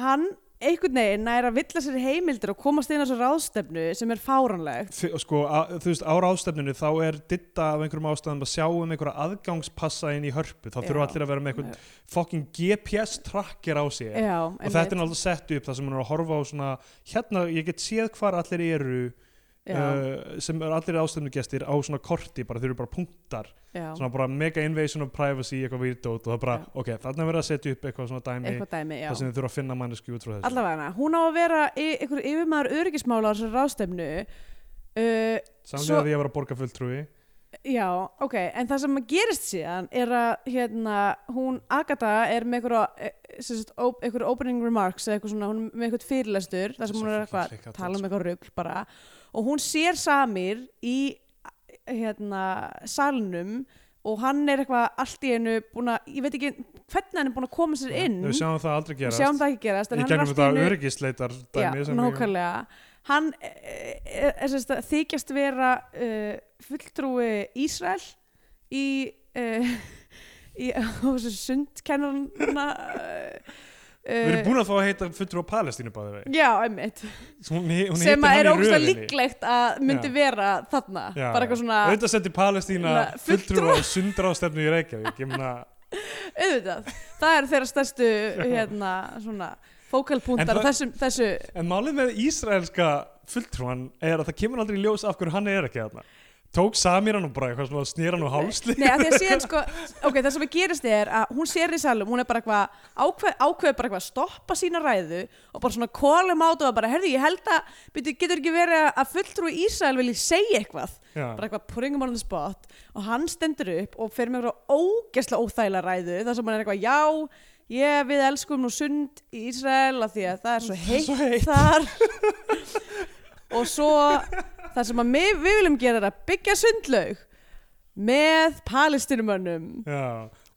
hann einhvern veginn nær að villa sér í heimildir og komast inn á svo ráðstefnu sem er fáranlegt
þi- sko, að, þú veist, á ráðstefninu þá er ditta af einhverjum ástæðum að sjá um einhverja aðgangspassa inn í hörpu þá þurfa
Já.
allir að vera með einhvern fucking GPS tracker á sig
já,
og þetta er náttúrulega sett upp þar sem hann er að horfa á svona hérna, ég get séð hvar allir eru
já,
uh, sem er allir ástefnugestir á svona korti bara, þeir eru bara punktar
já,
svona bara mega invasion of privacy, eitthvað výrdót og það er bara,
Já.
ok, þarna er verið að setja upp eitthvað svona dæmi
eitthvað dæmi já.
þar sem þið þurfa að finna mannesku út frá þessu
allavega hana, hún á að vera y- einhver yfirmaður öryggismála á þessari ráðstefnu uh,
samlega
svo-
því að vera borgarfulltrúi
já, ok en það sem gerist síðan er að hérna, hún Agatha er með einhverja, eh, sem sagt, op- einhver opening remarks eða eitthvað svona, hún er með einhvert fyrirlestur þar sem
Svo
hún er
fucking
eitthvað
klikkað
tala
dót,
um eitthvað rugl bara og hún sér Samir í hérna salnum og hann er eitthvað allt í einu búin að, ég veit ekki hvernig hann er búin að koma sér inn
Við sjáum það aldrei
Við
gerast.
sjáum það ekki gerast en
Í
hann er
gegnum
allt í
þetta
einu
öryggisleitar dæmi
já, nákvæmlega hann eh, er, er, er, er þykjast vera uh, fulltrúi Ísrael í uh, í sundkennarna uh,
Við erum búin að fá að heita fulltrú á Palestínu báði vegi.
já, einmitt
Hún, hún heitir
sem að
hann
er
í
ógust að
röðinni.
líklegt að myndi
Já.
vera þarna
Já,
bara eitthvað svona,
Auðvitað setti Palestína
Na,
fulltrú
fulltrúa.
á sundrástefnu í Reykjavík. Ég meina,
auðvitað það er þeirra stærstu hérna, svona,
En
fókalpuntar
það-
þessu, þessu
en málið með ísraelska fulltrúan er að það kemur aldrei í ljós af hverju hann er ekki þarna. Tók Samir hann og bara eitthvað svona snýr hann á hálsli.
Nei, að því að síðan sko, ok, það sem gerist er að hún sér í salum, hún er bara eitthvað ákveð, ákveð bara eitthvað að stoppa sína ræðu og bara svona kólum át og bara, herðu, ég held að, byrju, getur ekki verið að fulltrúi Ísrael vilji segja eitthvað
Já.
bara eitthvað putting him on the spot og hann stendur upp og fer með eitthvað ógesla óþægilega ræðu þar sem hann er eitthvað, já, ég, við elskum nú sund í Ísrael af því að það er svo heitt,
Svo heitt.
þar og svo það sem að mig, við viljum gera er að byggja sundlaug með palestinumönnum
Já,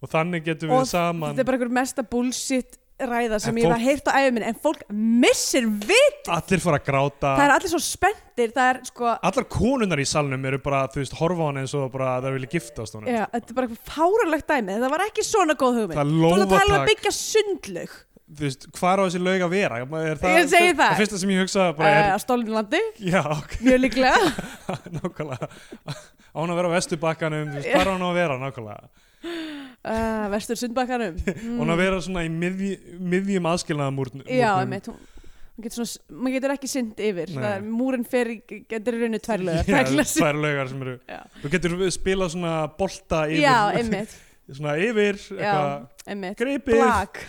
og þannig getum
og
við saman
þetta er bara einhver mesta bullshit ræða sem
En
ég
fólk-
hef heyrt á æfum minn en fólk missir vit
allir fara að gráta.
það er allir svo spenntir það er sko,
Allar konunar í salnum eru bara, þú veist, horfa á hann eins og bara það vilja giftast honum.
já, þetta er bara eitthvað fáralegt dæmi það var ekki svona góð hugmynd
Það er
þú ert að tala um
lófatak.
að byggja sundlaug
þú veist, hvað er á þessi laug að vera er það,
Ég segi það.
fyrsta sem ég hugsa bara er,
uh, stólinu landi,
já, ok,
mjög líklega
nákvæmlega á hann að vera á vesturbakkanum, þú veist, hvað er hann að vera nákvæmlega,
uh, vestur sundbakkanum
mm. hann að vera svona í miðj, miðjum aðskilnaðamúrnum
já, einmitt hún hún getur svona, maður getur ekki synd yfir
Nei.
það er, múrin fer, í- getur í rauninu tværlega
Já,
tværlega synd
tvær laugar sem eru
Já.
þú getur spilað svona bolta yfir
já, einmitt,
svona yfir,
já,
eitthvað,
einmitt
gripið
blag,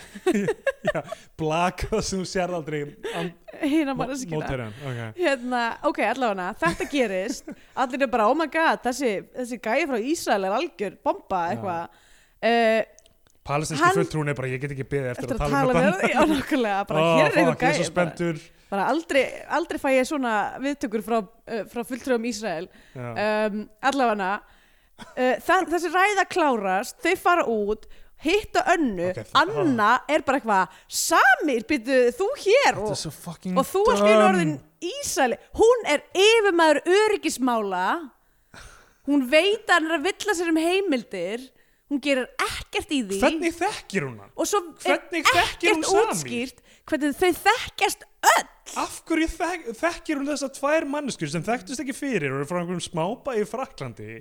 blak það sem þú sér aldrei and-
hýna bara skilja
mótverjan okay.
hérna, ok, allavega þetta gerist, allir er bara oh my god, þessi, þessi gæi frá Ísrael er algjör, bomba,
Já.
eitthvað uh,
palestinski
Hann-
fulltrún er bara, ég get ekki beðið eftir,
eftir að tala með það, já, nákvæmlega bara
um Ó,
hér er
fuck, ég er
eitthvað
svo
gæi bara,
spenntur
bara aldrei, aldrei fæ ég svona viðtökur frá, uh, frá fulltrúum Ísrael
Já.
um, allavega uh, það, þessi ræða klárast þau fara út hitta önnu,
Ok, það-
Anna er bara eitthvað Samir, býttu, þú hér
Þetta er
og,
svo fucking
og þú ert einu
dumb.
orðin Ísali hún er yfirmaður öryggismála hún veit að hann er að villa sér um heimildir hún gerir ekkert í því
Hvernig þekkir hún hann?
og svo
hvernig
er
þekkir hún
ekkert
Samir?
útskýrt hvernig þau þekkjast öll
Af hverju þek þekkir hún þessar tvær manneskur sem þekktust ekki fyrir og eru frá einhverjum smába í Fraklandi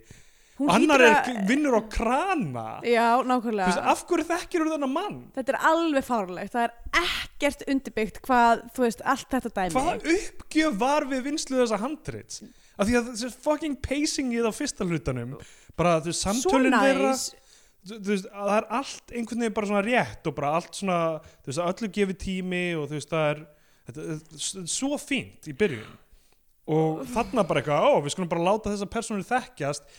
Hún
annar
hlýtur
er,
að-
vinnur á krana
já,
Þú veist,
nákvæmlega
af hverju þekkir hún þennan mann?
Þetta er alveg fárlegt, það er ekkert undirbyggt hvað, þú veist, allt þetta dæmi.
Hvaða uppgjöf var við vinslu þessa handrits? Af því að þessi fucking pacingið á fyrsta hlutanum bara þú veist, samtölin þeirra
Svo næs,
þú þú veist, að það er allt einhvern veginn bara svona rétt og bara allt svona þú veist, öllu gefið tími og þú veist, það er þetta, þetta er svo fínt í byrjun og þarna bara eitthvað, ó, við skulum bara láta þessa persónu þekkjast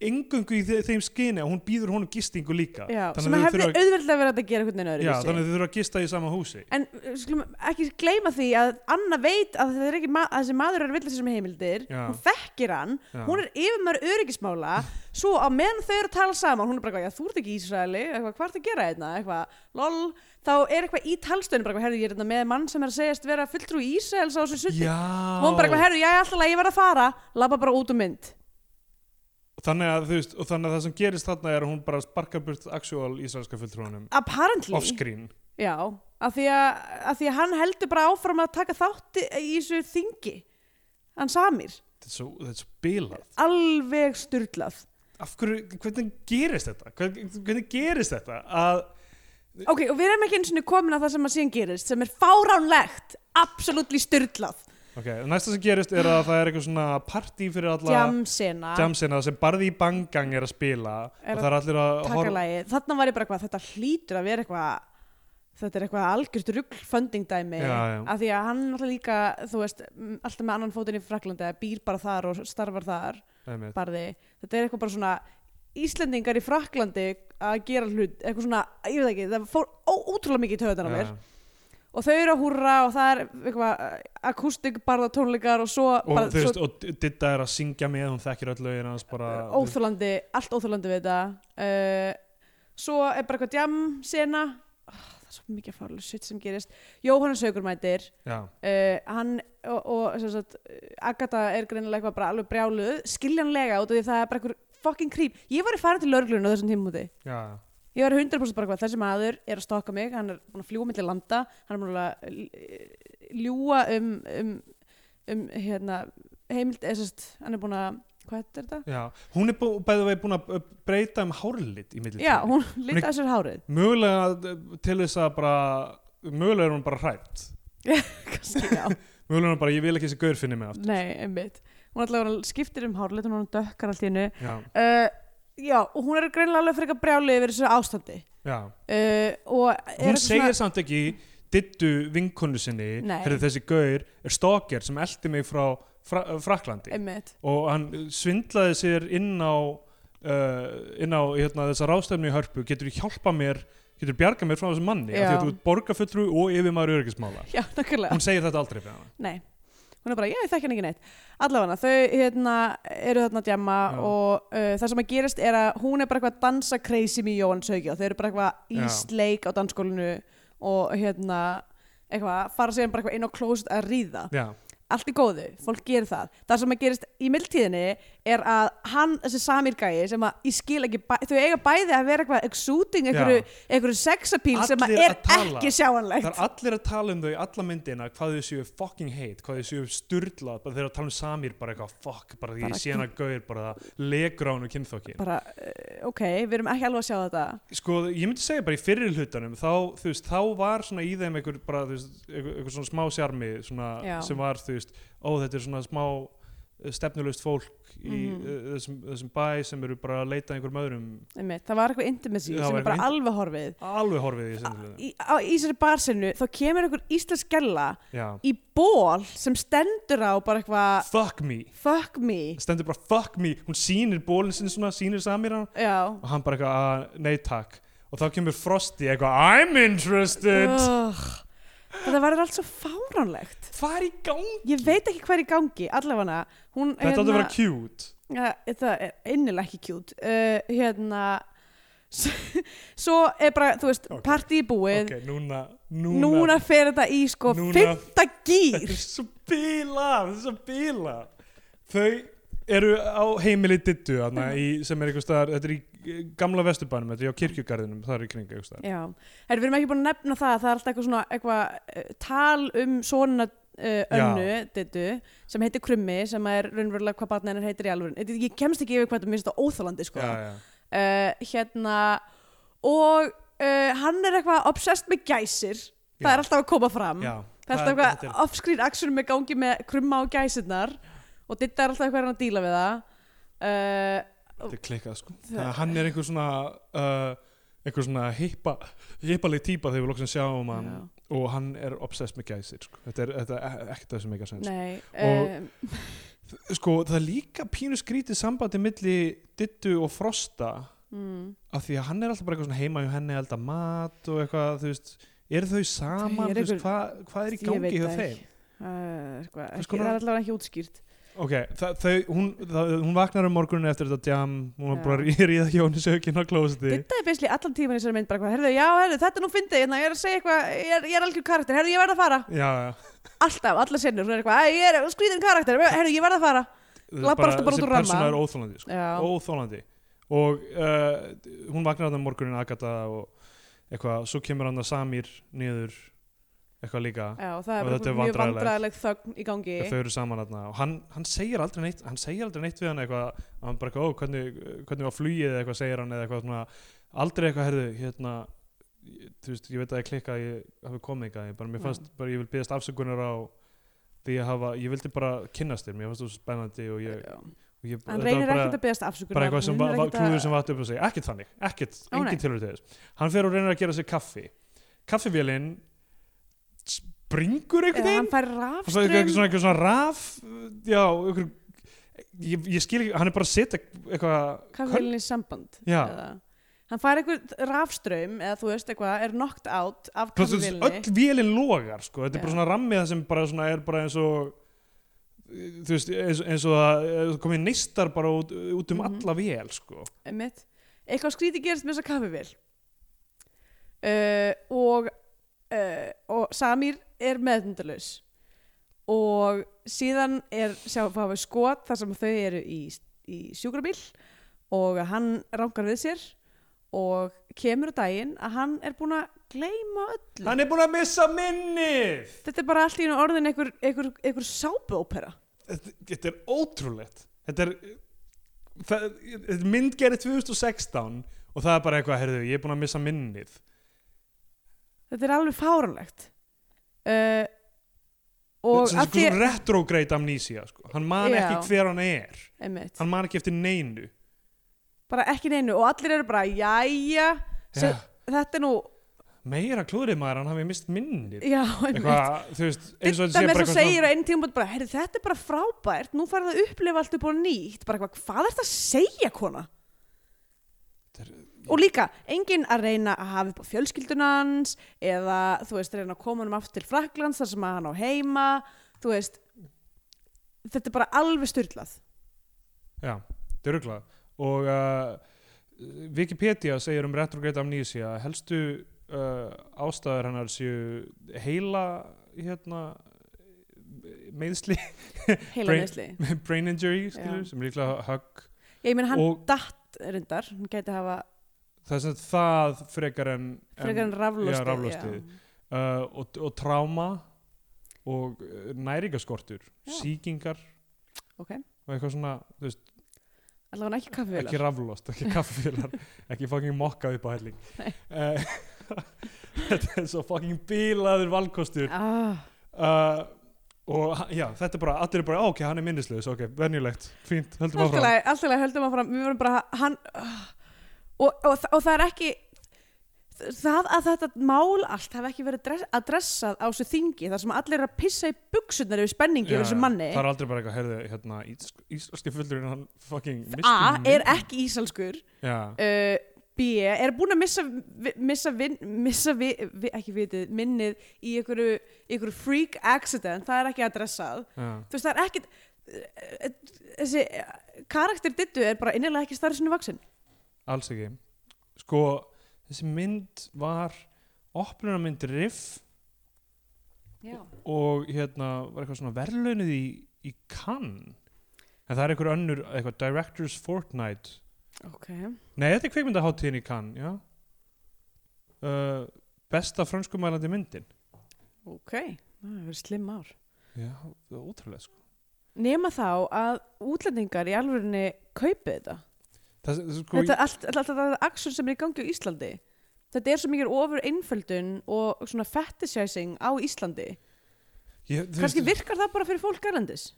engungu í þe- þeim skyni að hún býður honum gistingu líka
já,
þannig
sem
að þau
hefði
þurfa að-
auðveldlega verið hægt að gera einhvern veginn
já, þannig að
öðruvísi.
þau þurfa að gista í sama húsi
En uh, skulum ekki gleyma því að Anna veit að, þetta er ekki ma að þessi maður er að vilja sér með heimildir,
Já.
hún þekkir hann,
Já.
hún er yfirmaður öryggismála, svo á meðan þau eru að tala saman, hún er bara eitthvað, já þú ert ekki í Ísraeli, eitthvað, hvað ertu að gera einna, eitthvað, lol, þá er eitthvað í talstöðinu, bara eitthvað, herðu, ég er hérna með mann sem er að segjast vera fulltrú í Ísraels á þessu sundi,
já
hún bara eitthvað, herru, já, alltaf að ég verð að fara labba bara út um mynd
þannig að þú veist, og þannig að það sem gerist þarna er að hún bara sparkar burt actual íslenska fulltrúanum
apparently,
offscreen
já af því, að, af því að hann heldur bara áfram að taka þátt í í þessu þingi hann samir,
þetta er svo, þetta er svo bilað
alveg styrlað
af hverju, hvernig gerist þetta hvernig, hvernig gerist þetta að
ok, og við erum ekki eins og komin að það sem að síðan gerist sem er fáránlegt, absolutt styrlað,
ok, næsta sem gerist er að það er eitthvað svona partí fyrir alla
jamsena
jamsina sem barði í bangang er að spila
Er
og það er allir að horfa
takalagi, þarna var ég bara eitthvað þetta hlýtur að vera eitthvað þetta er eitthvað algjört rugglfundingdæmi
Já, já.
af því að hann náttúrulega líka þú veist, m, alltaf með annan fótinn í Fraklandi býr bara þar og starfar þar
Einmitt.
barði, þetta er eitthvað bara svona Íslendingar í Fraklandi að gera hlut, eitthvað svona, ég veit ekki það fór ó- ótrúlega mikið í töðan á mér
Já.
og þau eru að húrra og það er eitthvað akústik barða tónleikar og svo,
og
bara,
þú veist,
svo
og Didda er að syngja með hún þekkir öll lögin hans bara
óþúlandi, allt óþúlandi við þetta uh, svo er bara eitthvað djam sena, oh, það er svo mikið farlega shit sem gerist, Jóhannes Haugur mætir
já,
uh, hann og, og sem sagt, Agatha er greinilega eitthvað bara alveg brjáluð, skiljanlega út af því að það er bara einhver fucking creep ég var í farin til lauruglun á þessum tímúti
já,
ég var 100% bara eitthvað, þessi maður er að stokka mig hann er búin að fljúa millir landa hann er búin að eh, ljúga um, um, um hérna, heimild, eða sérst hann er búin að, hvað er þetta?
já hún er bú- bæði vegi búin að uh, breyta um hárlit í
Já,
millitíð
hún lita að sér hárið
mögulega uh, til þess að bara mögulega er hún bara hrætt
kannski, já,
mögulega er hún bara, ég vil ekki þessi gaur finni mig aftur
nei, einmitt hún allavega skiptir um hárið, hún dökkar allt í hennu
já,
uh, já, og hún er greinilega alveg frekar brjálið yfir þessu ástandi
já
uh, og er
hún
eitthvað
segir samt ekki dittu vinkonu sinni
Nei.
herri þessi gaur er stalker sem eldi mig frá fra Fraklandi
einmitt,
og hann svindlaði sér inn á uh, inn á hérna, þessa rástefnu í hörpu getur þú hjálpa mér, getur þú bjarga mér frá þessum manni af því
Já.
að þú ert borgarfulltrú og yfirmaður öryggismála
já, nákvæmlega
hún segir þetta aldrei við hana
Nei, hún er bara, já, ég þekki hann ekki neitt allavega, þau hérna, eru þarna að djamma
Já.
og uh, það sem að gerast er að hún er bara eitthvað að dansa crazy með Jóhann Söki og þau eru bara eitthvað
Já.
í sleik á dansskólinu og hérna eitthvað, fara síðan bara eitthvað inn á klóset að ríða
já,
allt í góðu, fólk gerir það það sem að gerist í mildtíðinni er að hann, þessi samir gæi sem að ég skil ekki, bæ, þau eiga bæði að vera eitthvað exúting, einhverju, einhverju sexapíl sem að
Allir
er
að tala.
ekki
Það
sjáanlegt
er allir að tala um þau í alla myndina hvað þau séu fucking hate, hvað þau séu styrla bara þeir eru að tala um Samir bara eitthvað fuck bara því
Bara
ég sé hana gauðir bara það legur á hann og kynþokkin
bara, eh, ok, við erum ekki alveg að sjá þetta
sko ég myndi segja bara í fyrir hlutanum þá, þú veist, þá var svona í þeim einhver bara þú veist, einhver, einhver svona smá sjarmi svona,
Já.
sem var þú veist, ó þetta er svona smá eh, stefnulaust fólk í mm
Mhm.
þessum, þessum bæ sem eru bara að leita að einhverjum öðrum
Einmitt, það var eitthvað intimacy
Það
sem
var
er bara
eitthvað
alveg horfið
alveg horfið í sendilinu
í, á, í þessari barsinu þá kemur einhver íslensk gælla
Já.
í ból sem stendur á bara eitthvað
fuck me,
fuck me
stendur bara fuck me hún sýnir bólinn sinni svona, sýnir Samir hann
já
og hann bara eitthvað að nei takk og þá kemur Frosty eitthvað I'm interested
Ugh. þetta var allt svo fáránlegt
hvað er í gang?
ég veit ekki hvað er í gangi allavega hún hérna,
Þetta átti að vera cute
ja, þetta er innilega ekki kjút uh, hérna s- svo er bara þú veist
Ok.
partí í búið
ok, núna, núna,
núna, fer þetta í sko
Núna-
fymta
þetta
gýr
er svo bíla þetta er svo bíla þau eru á heimili dittu hana, í, sem er eitthvað staðar þetta er í eh, gamla vesturbænum, þetta er á kirkjugarðinum það er í kring eitthvað staðar
já Her, við erum ekki búin að nefna það það er alltaf eitthvað svona eitthvað eh, tal um svona Uh, önnu, dittu, sem heitir Krummi sem er raunverulega hvað barnið hennar heitir í alvöru ég kemst ekki yfir hvað þetta minnst á óþálandi sko.
já, já.
uh, hérna og uh, hann er eitthvað obsessed með gæsir það
Já.
er alltaf að koma fram
Já,
sko. það er alltaf
það er- þetta
eitthvað off-screen action með gangi með krumma og gæsirnar og Ditta er alltaf eitthvað að díla við það uh,
Þetta er klikkað sko Þannig að hann er einhver svona uh, einhver svona hippa hippaleg típa þegar við loksum sjáum hann
Já.
og hann er obsessed með gæsir sko. þetta er, þetta er ekkert það sem ekki að sens
nei
Og-
um,
sko það er líka pínu skrítið sambandi milli Dittu og Frosta
mm,
af því að hann er alltaf bara eitthvað svona heima hjá henni að elda mat og eitthvað þú veist eru þau
Þau
saman,
eru
þú veist,
einhver-
hvað, hvað er í
Ég
gangi
veit
hjá
það
þeim?
ekki. uh, eitthvað,
Hvers
ekki,
konar-
það er alltaf ekki útskýrt
Ok, þa þau, hún, það, hún vaknar um morgunin eftir þetta jam, hún var
Já.
bara í ríða hjá henni sökinn á klósiti
Ditta er beisli allan tíman í þessari mynd bara hvað, herðu, já, herðu, þetta er nú fyndið, hérna, ég er að segja eitthvað, ég er, ég er algjör karakter, herðu, ég verð að fara,
Já, já
alltaf, allar sinnur, hún er eitthvað, æ, ég er skrýðin karakter, herðu, ég verð að fara, Labbar alltaf bara út úr ramma.
þessi persóna er óþólandi sko.
Já.
óþólandi og uh, hún vaknar þarna morgunin Agatha og eitthvað, svo kemur hann að Samir niður eitthvað líka
Já, það
Og
er
þetta
bara
er
mjög
vandræðalegt.
vandræðileg þögn í gangi.
og þau eru saman þarna og hann, hann segir aldrei neitt hann segir aldrei neitt við hann eitthvað hann bara eitthvað, ó, hvernig, hvernig var flugið eða eitthvað segir hann eða eitthvað svona, aldrei eitthvað herðu hérna, ég- þú veist, ég veit að ég klikka að ég hafi komið eitthvað, ég bara, mér fannst bara, ég vil byggast afsökunar á því að hafa, ég vildi bara kynnast þér, mér fannst þú svo spennandi og ég,
Já.
og ég þetta
Hann
var
reynir
bara-
ekkert að beðast afsökunar.
bara eitthvað sem
hann
va
reynir
va
ekkert að-
klúður sem vatt upp og segja ekkert þannig, ekkert,
Ó, nei.
engin tilhör til þess hann fer og reynir að gera sér kaffi kaffivélinn springur
Já,
einhvern veginn
Hann fær
hann sagði eitthvað, eitthvað,
rafströmm.
svona, eitthvað svona raf já, einhver, ég, ég skil ekki hann er bara að setja eitthvað köl-
Hvað vil í samband?
Já.
Eða- Hann fær eitthvað rafströmm, eða þú veist eitthvað, er knocked out af
Plus, þú veist,
kaffivillinni.
öll vélinn logar sko. þetta er bara
Já.
svona rammið sem bara svona er bara eins og þú veist, eins, eins og það komið neistar bara út, út um
Mhm.
alla vél sko.
Einmitt. Eitthvað skríti gerist með þessa kaffivill. Uh, og, uh, og Samir er meðnundalus. Og síðan er, sjá, fáum við skot þar sem þau eru í, í sjúkrabíl og hann rangar við sér og kemur á daginn að hann er búinn að gleyma öllu
hann er búin að missa minnið
þetta er bara allt í einu orðin einhver, einhver, einhver sápuópera
þetta, þetta er ótrúlegt þetta er, það, þetta er mynd gerði 2016 og það er bara eitthvað, heyrðu, ég er búin að missa minnið
þetta er alveg fáranlegt uh,
og
og
sem
að því
svona retrograde amnesia sko. hann man
Já.
ekki hver hann er
einmitt,
hann man ekki eftir neinu
bara ekki neinu og allir eru bara jæja sem,
Já.
þetta er nú
meira klúðrið maður, hann hafi mist minnið
já, einmitt
eitthvað, þú veist, eins og
Þetta
þetta sé
með
bara
þess að segir á
eitthvað
einn tíma bara, herri þetta er bara frábært, nú farið að upplifa allt upp á nýtt, bara eitthvað, hvað er þetta að segja kona?
Þetta er-
Og líka, enginn að reyna að hafa upp á fjölskyldunans eða, þú veist, reyna að koma hann aftur til Fraklands þar sem að hann á heima, þú veist, þetta er bara alveg styrlað.
já, þetta er ruglað og uh, Wikipedia segir um retrograde amnesia að helstu uh, ástæður hennar séu heila hérna meiðsli,
heila
Brain-
neysli
brain injury skilur,
Já.
sem er líklega högg
ég meina hann
Og-
datt reyndar hann gæti hafa
það er sem sagt það frekar en,
frekar en raflostið
já, raflostið. uh, og, og tráma og uh, næringaskortur
Já.
sýkingar
ok,
og eitthvað svona, þú veist,
allavega hann ekki
ekki
kaffevélar
raflost, ekki kaffefélar ekki fucking mokkað upp á helling uh, þetta er svo fucking bílaður valkostur
ah,
uh, og ha- já, þetta er bara, allir er bara "Á, ok, hann er minnisleis, ok, venjulegt fínt, höldum
allt í
áfram
lagi, allt í lagi, höldum áfram við vorum bara, hann ah. og, og, þa- og það er ekki það að þetta mál allt hafi ekki verið dress, adressað á þessu þingi þar sem allir er að pissa í buksunar yfir spenningi
Já,
yfir þessu
já,
manni
það er aldrei bara eitthvað, heyrðu, hérna íslensk- íslenski fullurinn, hann fucking misti
A
mynd-
er ekki ísalskur
já,
uh, B er búin að missa vi- missa, vin, missa vi, vi, ekki vitið, minnið í einhverju, einhverju freak accident, það er ekki adressað
já,
þú veist það er ekkit eh, þessi eh, karakter dittu er bara innilega ekki starf sinni vaksin
alls ekki sko, þessi mynd var opnunarmynd riff
Já.
og hérna var eitthvað svona verðlaunuð í, í Cannes en það er einhver önnur, eitthvað Directors Fortnite
ok,
nei, þetta er kveikmyndaháttíðin í Cannes já uh, besta franskumælandi myndin
ok það hefur slimm ár
já, það er ótrúlega sko
nema þá að útlendingar í alvörinni kaupi þetta
það, það, sko,
þetta er allt, allt, allt, allt aksjón sem er í gangi á Íslandi þetta er svo mikið ofur einföldun og svona fetishizing á Íslandi
ég, þú
kannski
veist-
virkar það bara fyrir fólk erlendis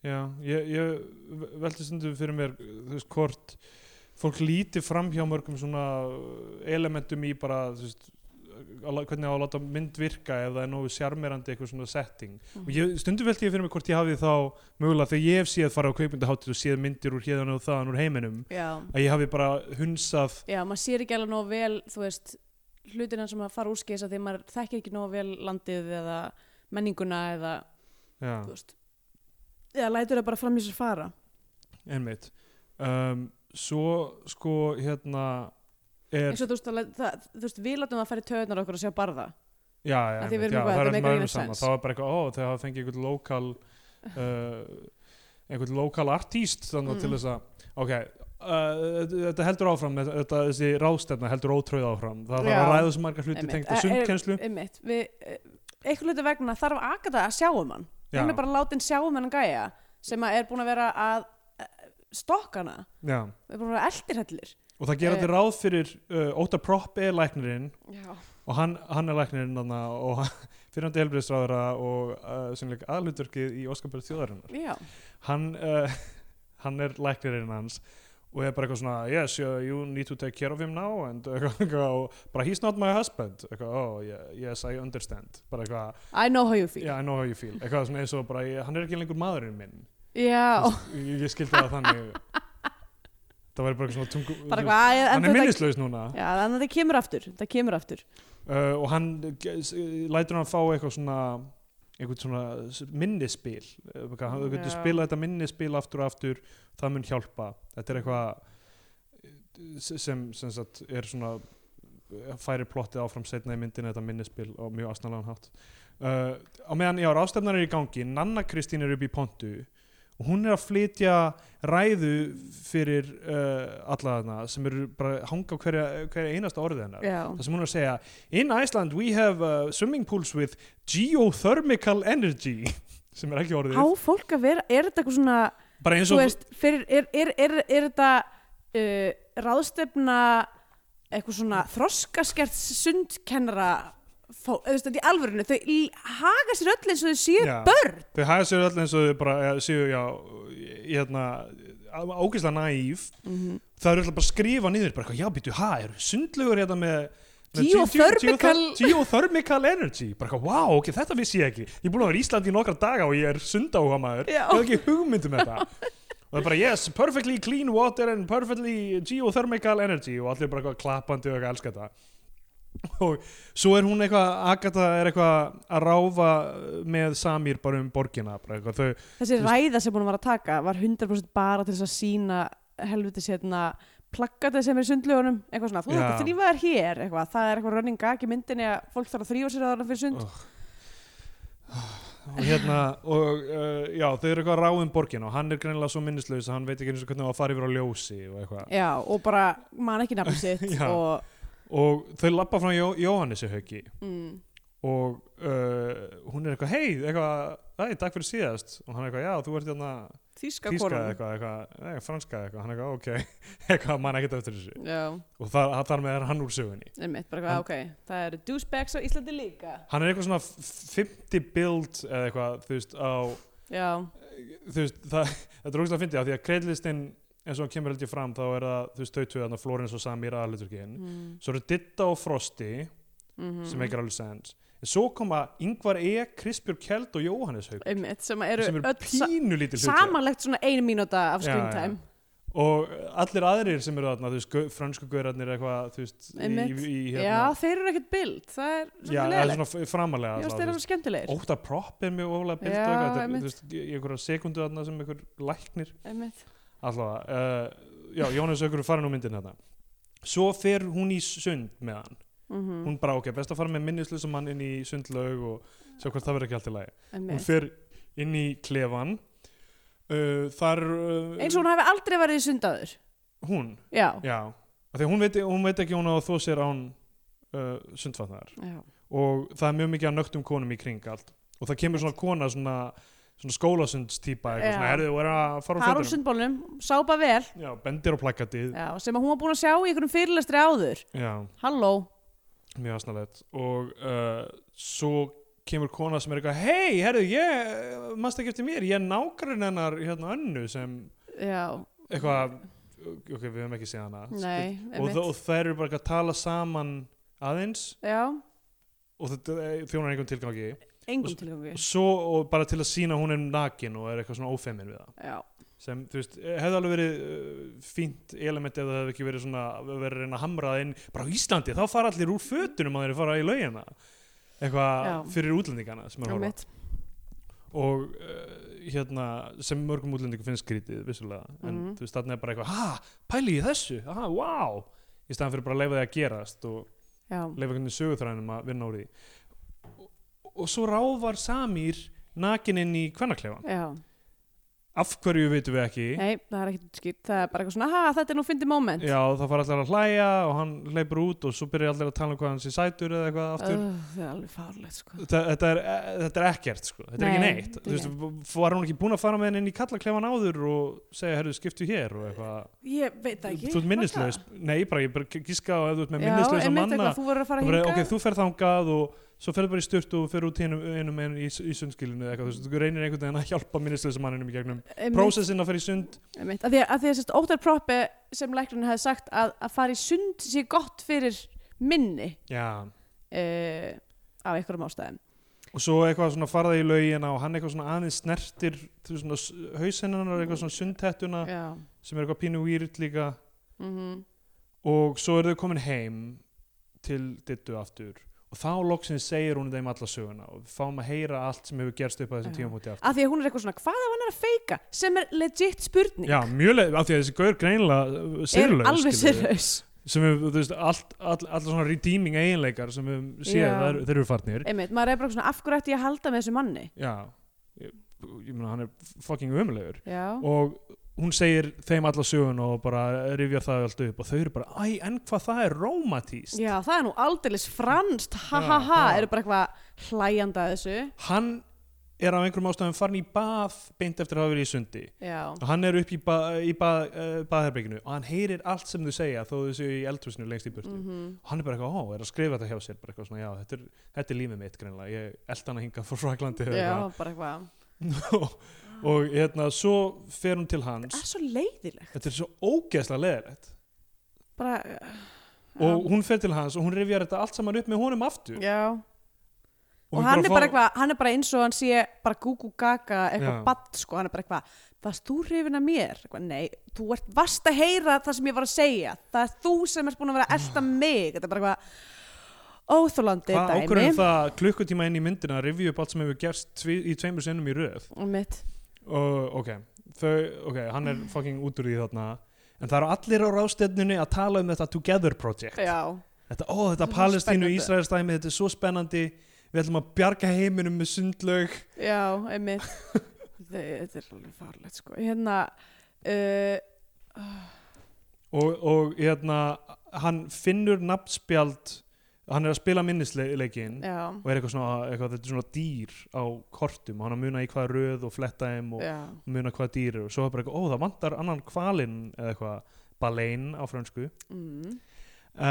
Já, ég, ég veldi stundum fyrir mér þú veist hvort fólk líti fram hjá mörgum svona elementum í bara þú veist að lá- hvernig á að láta mynd virka ef það er nógu sjarmerandi eitthvað svona setting og ég, stundum veldi ég fyrir mig hvort ég hafi þá mögulega þegar ég hef séð fara á kveikmyndaháttir og séð myndir úr hérðan og þaðan úr heiminum
já,
að ég hafi bara hunsað
já, maður sér ekki alveg nóg vel þú veist, hlutina sem að fara úrskis að því maður þekkir ekki nóg vel landið eða menninguna eða
já,
þú veist eða lætur það bara fram í sér fara
einmitt um, svo sko hérna er,
eins og þú veist, það, það, þú veist við látum það fara í töðunar okkur að sjá barða
já, já,
Að því
einmitt,
við erum
já,
eitthvað,
það
þetta
er
make
maður
any
saman
sense.
þá er bara eitthvað, ó, þegar það fengið einhvern lokal uh, einhvern lokal artíst þannig
Mm.
til þess að ok, uh, þetta heldur áfram þetta, þessi ráðstefna heldur ótröð áfram það þarf að
Já.
ræða svo margar hluti
Einmitt.
tengt á
Eh, er-
sundkennslu
einmitt, við, eh, einhver hluti vegna þarf Agatha að sjá um hann
Já.
hann er bara látin sjá um hann gæja sem að er búin að vera að eh, stokka hana,
já.
er búin að vera eldirhellir
og það gera
Eh.
þetta ráð fyrir uh, Óta Propp er læknirinn
já
og hann, hann er læknirinn þarna, og fyrirhandi helbriðsráðara og uh, sannleik aðluturkið í Óskarbjörð þjóðarinnar
Já,
hann, uh, hann er læknirinn hans og er bara eitthvað svona yes, you, you need to take care of him now and eitthvað, eitthvað, og bara he's not my husband eitthvað, oh yeah, yes, I understand bara eitthvað,
I know how you feel
yeah, I know how you feel eitthvað svona eins og bara, ég, hann er ekki lengur maðurinn minn
Já,
Þú veist, ég, ég skildi það þannig það væri bara eitthvað svona tungu
bara hvað en
hann er
þetta-
minnislaus núna
Já, þannig að það kemur aftur, það kemur aftur
uh, og hann eh, s- eh, lætur hann fá eitthvað svona eitthvað svona s- minnispil Eh, hvað, hann
Já.
getur spilað þetta minnispil aftur og aftur það mun hjálpa þetta er eitthvað eh, s- sem, sem sagt, er svona eh, færir plottið áfram setna í myndinu þetta minnispil á mjög asnalega hátt uh, á meðan, já, rástefnar er í gangi Nanna Kristín er upp í pontu og hún er að flytja ræðu fyrir uh, alla þarna sem eru bara að hanga á hverja, hverja einasta orðið hennar
Já,
það sem hún er að segja In Iceland we have uh, swimming pools with geothermical energy sem er ekki orðið
á fólk að vera, er þetta eitthvað svona
bara eins
Þú
og
veist, fyrir, er, er, er, er þetta uh, ráðstefna eitthvað svona þroskaskert sundkennara fó, þú veist, þetta í alvörinu, þau í- haga sér öll eins og þau séu
Já.
börn
þau hafa sér öll eins og þau bara eh, séu já, í- hérna ágæslega naív
Mhm.
það eru alltaf bara að skrifa niður bara, eitthvað, já býtu, ha, eru sundlugur hérna með með ge- ge-
Geothermical-
geother- geothermical energy bara eitthvað, wow, ok, þetta vissi ég ekki ég er búin að vera í Íslandi í nokkra daga og ég er sundáhuga maður
Já.
ég hef ekki hugmyndum þetta og það er bara, yes, perfectly clean water and perfectly geothermical energy og allir bara eitthvað klappandi og eitthvað elska þetta og svo er hún eitthvað Agatha er eitthvað að ráfa með Samir bara um borgina bara eitthvað, þau,
Þessi
Þú veist-
ræða sem hún var að taka var 100% bara til þess að sína helviti sérna plakkatið sem er í sundlögunum eitthvað svona, þú þarf að
Já.
þrýfa þér hér eitthvað, það er eitthvað running gag í myndinni að fólk þarf að þrýfa sér að þarna fyrir sund
Oh. og hérna og uh, já þau eru eitthvað að ráðum borgin og hann er greinilega svo minnislaus að hann veit ekki eins og hvernig hann var að fara yfir á ljósi og eitthvað
Já, og bara man ekki nafn sitt
Já.
og
og þau lappa frá Jó Jóhannessi hauki
mm,
og uh, hún er eitthvað hei, eitthvað, hei, takk fyrir síðast og hann er eitthvað, já, þú ert hérna
þýska
tíska
konan.
eitthvað, eitthvað, eitthvað, franska eitthvað hann er eitthvað, ok, eitthvað, mann ekkert eftir þessu
Já,
og þar, þar með er hann úr sögunni
einmitt, bara hvað, ok. Það eru douchebags á Íslandi líka.
hann er eitthvað svona 50 build eða eitthvað, þú veist, á
Já,
þú veist, það, þetta er ógæslega fyndið á því að kreidlistin, eins og hann kemur held ég fram þá er það, þú veist, tautuð hann að Florence og Samir aðluturkin,
mm,
svo eru Ditta og Frosti
mm
sem ekki alveg sens en svo koma Ingvar E, Krispjörg Kjeld og Jóhannes Haug
einmitt, sem eru,
sem eru
öll sa
pínu lítið
samanlegt svona einu mínúta af
Já,
screen
já.
time.
og allir aðrir sem eru þarna, þú veist, gau- frönsku gaurarnir eitthvað, þú veist, í,
Einmitt.
í, í hérna.
Já, þeir eru ekkert bild, það
já,
er svolítið
það er
leðilegt.
svona f- framalega
Ég veist
alltaf,
þeir
þú
eru
veist.
skemmtilegir.
óta propp er mjög ofalega
Já,
byrta eitthvað,
einmitt.
þú veist, í í einhverja sekundu þarna sem einhver læknir
Einmitt.
allavega, uh, já, Jónas Haugur er farin úr myndin þetta svo fer hún í sund með hann
Mhm,
hún bara, ok, best að fara með minnislusum mann inn í sundlaug og sjá hvort það verður ekki allt í lagi hún
einmitt.
fer inn í klefan uh, þar uh,
Eins og hún hafi aldrei verið í sundaður.
hún,
Já.
já, af því að hún veit, hún veit ekki hún á að þó sér án uh, sundfatnar
Já.
og það er mjög mikið að nögtum konum í kring allt og það kemur svona kona svona, svona skólasundstýpa eitthvað
Já.
svona herðu og er að fara
Fara
á
úr
fötunum
sundbólnum, sápa vel,
já, bendir á plakatið
já, sem að hún var búin að sjá í einhverjum fyrirlestri áður.
já,
Halló.
mjög aðsnalett og uh, svo kemur kona sem er eitthvað hei, herðu, ég, mannst ekki eftir mér ég er nágrinn hennar hérna önnu sem
Já,
eitthvað, ok, við höfum ekki séð hana
nei,
og,
einmitt.
þa- og þær eru bara eitthvað að tala saman aðeins
Já,
og þetta eh, þjónar einhvern tilgangi
engum
Og-
tilgangi.
og svo og bara til að sína hún er nakin og er eitthvað svona ófemin við það
Já,
sem, þú veist, eh, hefði alveg verið uh, fínt element ef það hefði ekki verið svona verið að reyna að hamra það inn, bara á Íslandi þá fara allir úr fötunum að þeir fara í laugina eitthvað
Já.
fyrir útlendingana sem er að horfa
einmitt.
og uh, hérna sem mörgum útlendingum finnst skrítið vissulega, en
Mhm.
þú veist, þarna er bara eitthvað ha, pæli ég þessu, ha, wow í staðan fyrir bara að leifa því að gerast og
Já,
leifa hvernig sögutræðinum að vinna úr því og, og svo ráfar Samir nakin inn í kvennaklefann
já.
af hverju veitum við ekki
Nei, það er ekkert útskýrt. Það er bara eitthvað svona, ha, þetta er nú fyndið moment.
já það fara allir að hlæja og hann leipur út og svo byrja allir að tala um hvað hann sé sætur eða eitthvað aftur
Öh, það er alveg fárlegt, sko.
Þa, þetta, er, þetta er ekkert sko, þetta er
Nei,
ekki neitt
þetta
þú
er
veist, var hún ekki búin að fara með henni inn í kallaklefan áður og segja, herru, skiptu hér og eitthvað,
Ég veit það ekki.
þú ert minnislaus nei, bara ég bara gíska á ef þú ert með minnislaus
Já,
að
einmitt
manna
eitthvað, þú verður að fara
bara,
hingað.
ok, þú fer þangað og svo ferð bara í sturt og fer út hinum, hinum megin í, í sundskilinu eða eitthvað, þú veist, þú reynir einhvern veginn að hjálpa minnislega manninum í gegnum prósessin að fer í sund
Einmitt, að því að, að því að sérst óttar proppi sem læknirinn hefði sagt að, að fara í sund sé gott fyrir minni
já,
uh, af einhverjum ástæðum
og svo eitthvað svona farða í laugina og hann eitthvað svona aðeins snertir þú veist, svona hausinnan og eitthvað svona sundhettuna
Já,
sem er eitthvað pínu výrt líka
mm
og svo eru þau komin heim til dittu aftur og þá loksins segir hún þeim alla söguna og við fáum að heyra allt sem hefur gerst upp að þessum
Já.
tímafóti aftur
að því að hún er eitthvað svona hvað ef hann er að feika sem er legit spurning
Já, mjög leið, af því að þessi gaur greinilega uh,
er
sérlaug,
alveg sérlaus
sem við, þú veist, allt, all, allar svona redeeming eiginleikar sem við séð,
Já.
yeah. þeir eru farnir
einmitt, maður er bara svona af hverju ætti ég að halda með þessu manni
já, ég, ég meina hann er fucking ömulegur
Já,
og hún segir þeim alla sögun og bara rifjar það allt upp og þau eru bara, æ, en hvað það er rómatíst
Já það er nú aldeilis franskt ha
Já,
ha ha,
já.
eru bara eitthvað hlæjanda að þessu
hann er af einhverjum ástæðum farin í bað beint eftir að hafa verið í sundi
Já,
og hann er upp í, ba í ba uh, baðherbygginu og hann heyrir allt sem þau segja þó þau séu í eldhúsinu lengst í burtu
mm
og hann er bara eitthvað, ó, er að skrifa þetta hjá sér bara eitthvað svona, já, þetta er, þetta er lífið mitt greinlega ég eldan að hinga frá Fraklandi eða eitthvað."
já bara eitthvað
og, og hérna svo fer hún til hans
Það er svo leiðilegt
þetta er svo ógeðslega leðilegt
bara,
og hún fer til hans og hún rifjar þetta allt saman upp með honum aftur
Já
Og hún
og hann er,
fá-
bara eitthvað, hann er bara eins og hann sé bara gúgú gaga eitthvað
Já.
badd sko, hann er bara eitthvað, varst þú hrifin að mér? Eitthvað, nei, þú ert vast að heyra það sem ég var að segja, það er þú sem ert búin að vera að elta mig, þetta er bara eitthvað óþólandi
hvað um
dæmi
ákvörðum það klukkutíma inn í myndina að rifja upp allt sem hefur gerst tvi, í tveimur sinnum í röð
Einmitt.
og ok, þau, ok, hann er fucking út úr því þarna en það eru allir á ráðstefnunni að tala um þetta Together Project
Já,
þetta, ó, þetta
Þetta er svo
Palestínu
spennandi.
Ísraelstæmi, þetta er svo spennandi við ætlum að bjarga heiminum með sundlaug
Já, einmitt Þe- Þetta er alveg farlegt sko Hérna uh,
og, og hérna hann finnur nafnspjald hann er að spila minnisleikin
Já,
og er eitthvað svona, eitthvað, þetta er svona dýr á kortum og hann er að muna í hvað röð og fletta þeim og
já
muna hvað dýr eru og svo er bara eitthvað, ó það vantar annan kvalinn eða eitthvað, balein á fransku
mm.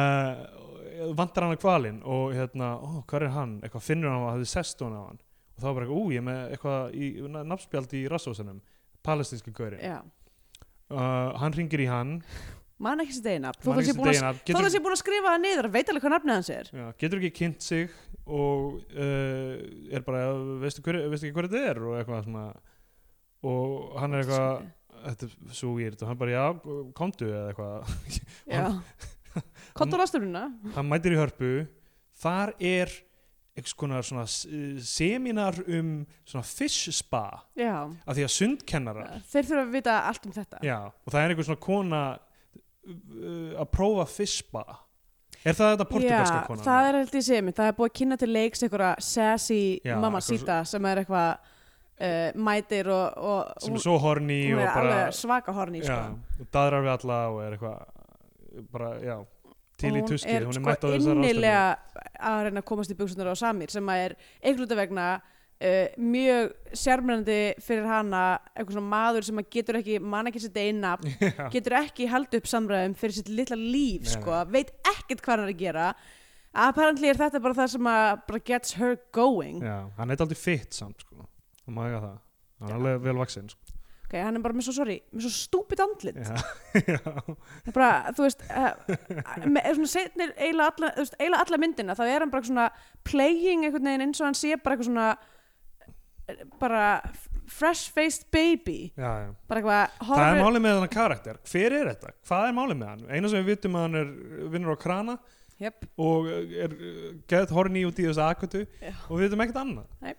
uh, vantar hann að kvalinn og hérna, ó, hvað er hann eitthvað finnur hann að hafði sest hún á hann og þá var bara eitthvað, ú, ég er með eitthvað í, nafnspjald í rassósanum, palestinska gaurin uh,
Já,
hann ringir í hann
man ekki sér deginab Þó
man
það
ekki
sé
sem
búin að,
deginab,
þó
getur,
það sé búin að skrifa það niður Veit alveg hvað nafnið hans er
já, getur ekki kynnt sig og uh, er bara veistu, hver, veistu ekki hver þetta er og eitthvað svona og hann er eitthvað þetta er svo weird og hann bara, já, komdu eða eitthvað
Já Kontur ástöfnuna
hann mætir í hörpu þar er einhvers konar svona s- eh, seminar um svona fish spa
Já
af því að sundkennarar
Þeir þurfa að vita allt um þetta
já, og það er einhver svona kona uh, að prófa fish spa er það þetta portugalska
Já,
kona?
það er held ég sé mér, það er búið að kynna til leiks einhverja sassy
Já,
mamma
eitthvað
síta sem er eitthvað uh, mætir og, og
sem er svo horny
hún
og
er
bara
alveg svaka horni sko.
já, og daðrar við alla og er eitthvað bara, já, til í
Og
tuski hún er mætt á
sko
þessar
innilega
ráðstefnu
að reyna að komast í buksunar á Samir sem að er einhverjuta vegna uh, mjög sérmennandi fyrir hana eitthvað svona maður sem að getur ekki man ekki sitt eina
Já.
getur ekki haldið upp samræðum fyrir sitt litla líf
Nei,
sko, veit ekkert hvað hann er að gera apparently er þetta bara það sem að bara gets her going
já, hann er aldrei fitt samt sko. hann má eiga það, hann er alveg vel vaksinn sko.
ok, hann er bara með svo sorry, með svo stúpid andlit
já, já
Það er bara, þú veist uh, með, svona setnir eiginlega alla, þú veist, eiginlega alla myndina, þá er hann bara svona playing einhvern veginn eins og hann sé bara eitthvað svona eh, bara fresh-faced baby
Já, já.
bara eitthvað
Það er
horfir-
málið með þannig karakter. Hver er þetta? Hvað er málið með hann? Einu sem við vitum að hann er vinnur á krana
Jöp.
og er uh, geðt horni út í þessu akvötu
Já.
og við vitum ekkert annað.
Nei.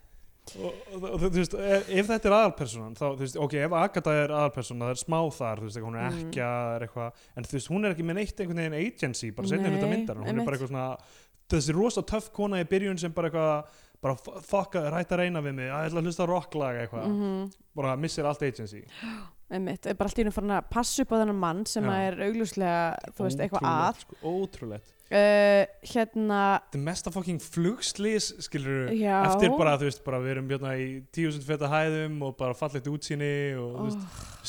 Og, og, og þú þú veist, ef, ef þetta er aðalpersonan þá, þú veist, ok, ef Agatha er aðalpersonan það er smá þar, þú veist, hún er
Mhm.
ekki að er eitthvað, en þú veist, hún er ekki með neitt einhvern veginn agency, bara setja
Nei,
hluta myndar hún
einmitt.
er bara eitthvað svona þessi rosa töff kona í byrjun sem bara eitthvað bara f- fuck að ræta reyna við mig, að ég ætla að hlusta á rocklag eitthvað,
Mhm,
bara missir allt agency
einmitt, er bara allt í hennu farin að passa upp á þennan mann sem
Já.
að er augljóslega þú veist, eitthvað
Ótrúlegt,
að
sko, ótrúlegt
uh, hérna,
þetta er mesta fucking flugslis skilur
já
eftir bara þú veist bara við erum hérna í tíusund feta hæðum og bara fallegt útsýni og þú
oh,
veist,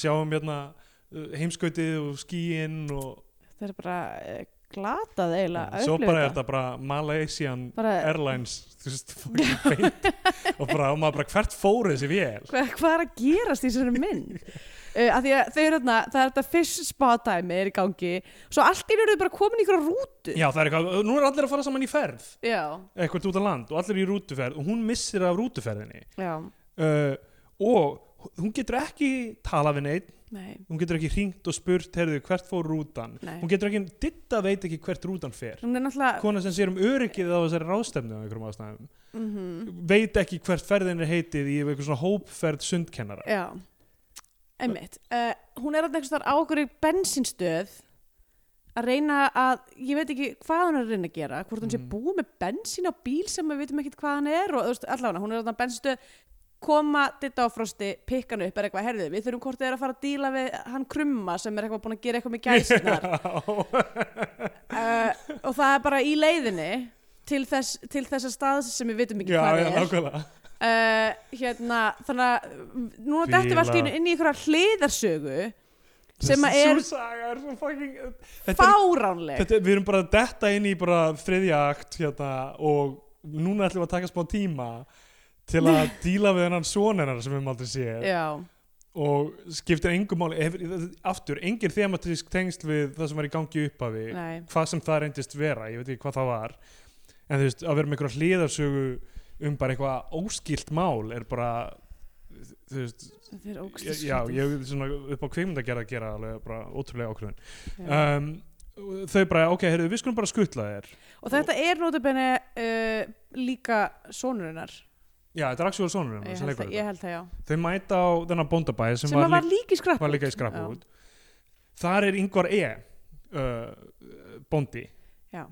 sjáum hérna uh, heimskautið og skíin og
þetta er bara eh, glatað eiginlega að
svo
upplifa
bara er þetta bara Malaysian
bara,
Airlines þú veist fucking beint og bara og maður bara hvert fóru þessi vél
Hva, hvað er að gerast í þessari mynd uh, að því að þau eru þarna það er þetta fish spa dæmi er í gangi svo allt í einu eru þau bara komin í ykkur rútu
já það er eitthvað nú er allir að fara saman í ferð
já,
eitthvað út á land og allir í rútuferð og hún missir af rútuferðinni
já.
uh, og hún getur ekki tala við neitt
Nei,
hún getur ekki hringt og spurt heyrðu, hvert fór rútan
nei.
hún getur ekki, ditta veit ekki hvert rútan fer
hún er náttúrulega
kona sem sér um öryggið á þessari ráðstefnu á einhverjum ástæðum,
mm
veit ekki hvert ferðin er heitið í eitthvað svona hópferð sundkennara
já, einmitt uh, hún er þarna einhvers þar á okkur í bensinstöð að reyna að, ég veit ekki hvað hún er að reyna að gera hvort hún sé
Mm.
búið með bensin á bíl sem við veitum ekkert hvað hann er og þú veist, allavega hún er þarna á bensinstöð koma ditta á frosti, pikkan upp er eitthvað herðið, við þurfum hvort þið er að fara að díla við hann krumma sem er eitthvað búin að gera eitthvað með gæsinar uh, og það er bara í leiðinni til þess, til þess að stað sem við vitum ekki
já,
hvað
já,
er
nákvæmlega
uh, hérna, þannig að uh, núna dættum við allt í einu inn í einhverja hliðarsögu sem að er
Sú saga er svo fucking þetta er,
fáránleg
þetta er, við erum bara að detta inn í bara þriðja akt hérna, og núna ætlum við að taka smá tíma til að díla við hennan sonenar sem við höfum aldrei séð
já,
og skiptir engum máli hefur, aftur, engin thematísk tengsl við það sem var í gangi í upphafi
nei,
hvað sem það reyndist vera, ég veit ekki hvað það var en þú veist, að vera með einhverja hliðarsögu um bara eitthvað óskilt mál er bara þú veist,
þetta er ógstu
já, ég svona upp á kveimdagerð að gera alveg bara ótrúlega ákveðin
já.
um, þau bara, ok, heyrðu, við skulum bara skutla þér
og þetta er notabenni uh, líka sonurinnar
já, þetta er Axel Sónur
ég held, það, ég held það, já
þau mæta á þennan bóndabæ sem,
sem að
var
var líka í skrapp
var líka í skrapphúð þar er yngvar E uh, bóndi
Já.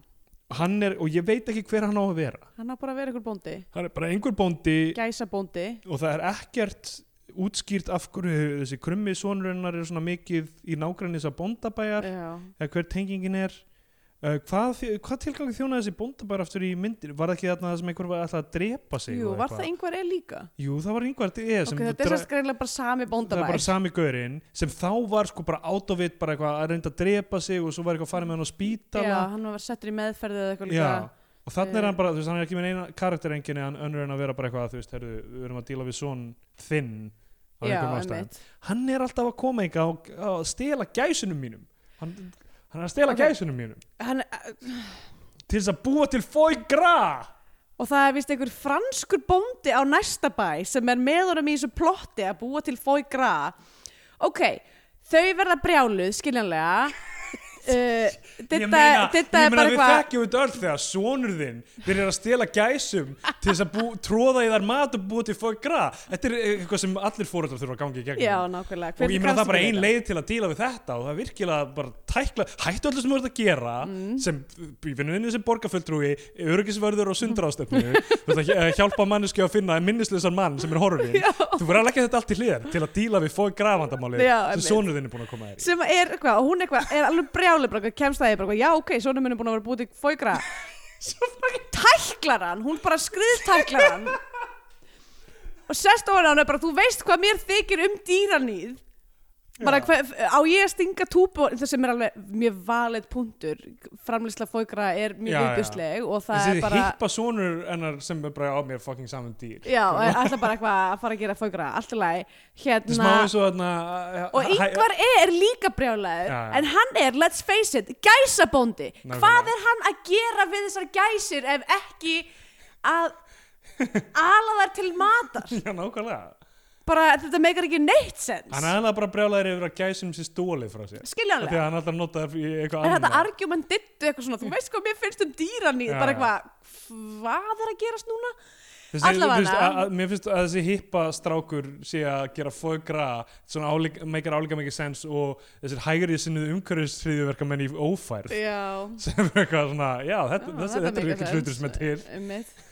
hann er, og ég veit ekki hver hann á að vera
hann á bara að vera ykkur bóndi
hann er bara einhver bóndi
gæsa bóndi
og það er ekkert útskýrt af hverju þessi krummi sonurinnar er svona mikið í nágrænis að bóndabæjar
já.
eða hver tengingin er uh, hvað, þi- hvað tilgangi þjónaði þessi bóndabæjar aftur í myndir, var það ekki þarna það sem einhver var alltaf að drepa sig
jú,
og
var
eitthvað?
það einhver er líka
Jú, það var einhver e,
ok, þetta er sérst greinlega bara sami
það var
bóndabær
bara sami gaurinn sem þá var sko bara out of it bara eitthvað að reynda að drepa sig og svo var eitthvað að fara með hann á
já,
spítala
hann var settur í meðferði eða eitthvað líka
Já, og þannig er
Eh.
hann bara, þú veist, hann er ekki með eina karakterenginni hann önnur en að vera bara eitthvað, þú veist, herðu, við erum að díla við svon þinn af
já,
einhverjum ástæðum.
einmitt
Hann er alltaf að koma eitthvað og og stela gæsunum mínum. Hann, hann er að stela
Ok.
gæsunum mínum
hann,
til þess að búa til fói gra.
og það er vist einhver franskur bóndi á næsta bæ sem er með honum í þessu plotti að búa til fói gra ok, þau verða brjáluð skiljanlega uh,
ég
þetta,
meina,
þetta
ég meina
er bara
við
eitthvað
þekkjum þetta öll þegar sonur þinn byrjar að stela gæsum til þess að bú, tróða í þar mat og búa til fói gra. Þetta er eitthvað sem allir fóreldrar þurfa að gangi í gegnum.
já, nákvæmlega
og
Hvernig
ég meina það
kannstu
er bara
við
ein
þetta?
leið til að díla við þetta og það er virkilega bara tækla hættu öllu sem þú ert að gera
Mm.
sem í vinnuðinni sem borgarfulltrúi öryggisvörður og sundraðstöfnu
Mm.
þú ert að hj- eh, hjálpa manneski að finna minnisleysar mann sem er horfin
Já.
þú verður að leggja þetta allt í hliðar til að díla við fói grafandamáli
Já,
sem
einmitt.
sonur þinn er búin að koma þér í
sem er eitthvað, og hún eitthvað, er alveg brjáluð bara eitthvað, kemst að því, bara eitthvað, já ok, svona minn er búin að vera búið til fóigra tæklar hann, hún bara skriðtæklar hann og sest ofan á hann bara, þú veist hvað mér þykir um dýraníð bara,
Já.
hva, á ég að stinga túpu og- það sem er alveg mjög valið punktur framlýsla fóigra er mjög
Já, já.
viðbjusleg og það
þessi
er bara
hippa sonur ennar sem er bara á mér fucking saman dýr
já, alltaf bara eitthvað að fara að gera fóigra allt í lagi,
þetta er
hérna
smá eins og þarna eh,
Og
hæ-
yngvar er líka brjálæður
Já, já.
En hann er, let's face it, gæsabóndi
Nákvæmlega.
Hvað er hann að gera við þessar gæsir Ef ekki að Ala þær til matar
já nákvæmlega
Bara þetta meikar ekki neitt sens
hann er aðlega bara brjálæður yför að gæsum sér stóli frá sér Af því
Skiljanlega
að hann alltaf nota það í eitthvað
En þetta
annað.
argument dittu eitthvað svona Þú veist hvað mér finnst um dýraníð
Já,
Bara
já.
eitthvað, hvað er að gerast núna
Þessi,
Allavega.
þú veist, að- að- Mér finnst að þessi hippa strákur sé að gera fógra svona álík, meikar álíka mikið sens og þessir hægrið sinnuð umhverfis hriðjuverkamenn í ófærð
Já
sem er eitthvað svona, já, þetta, þessi, þetta er ekki hlutur sem er til
Einmitt.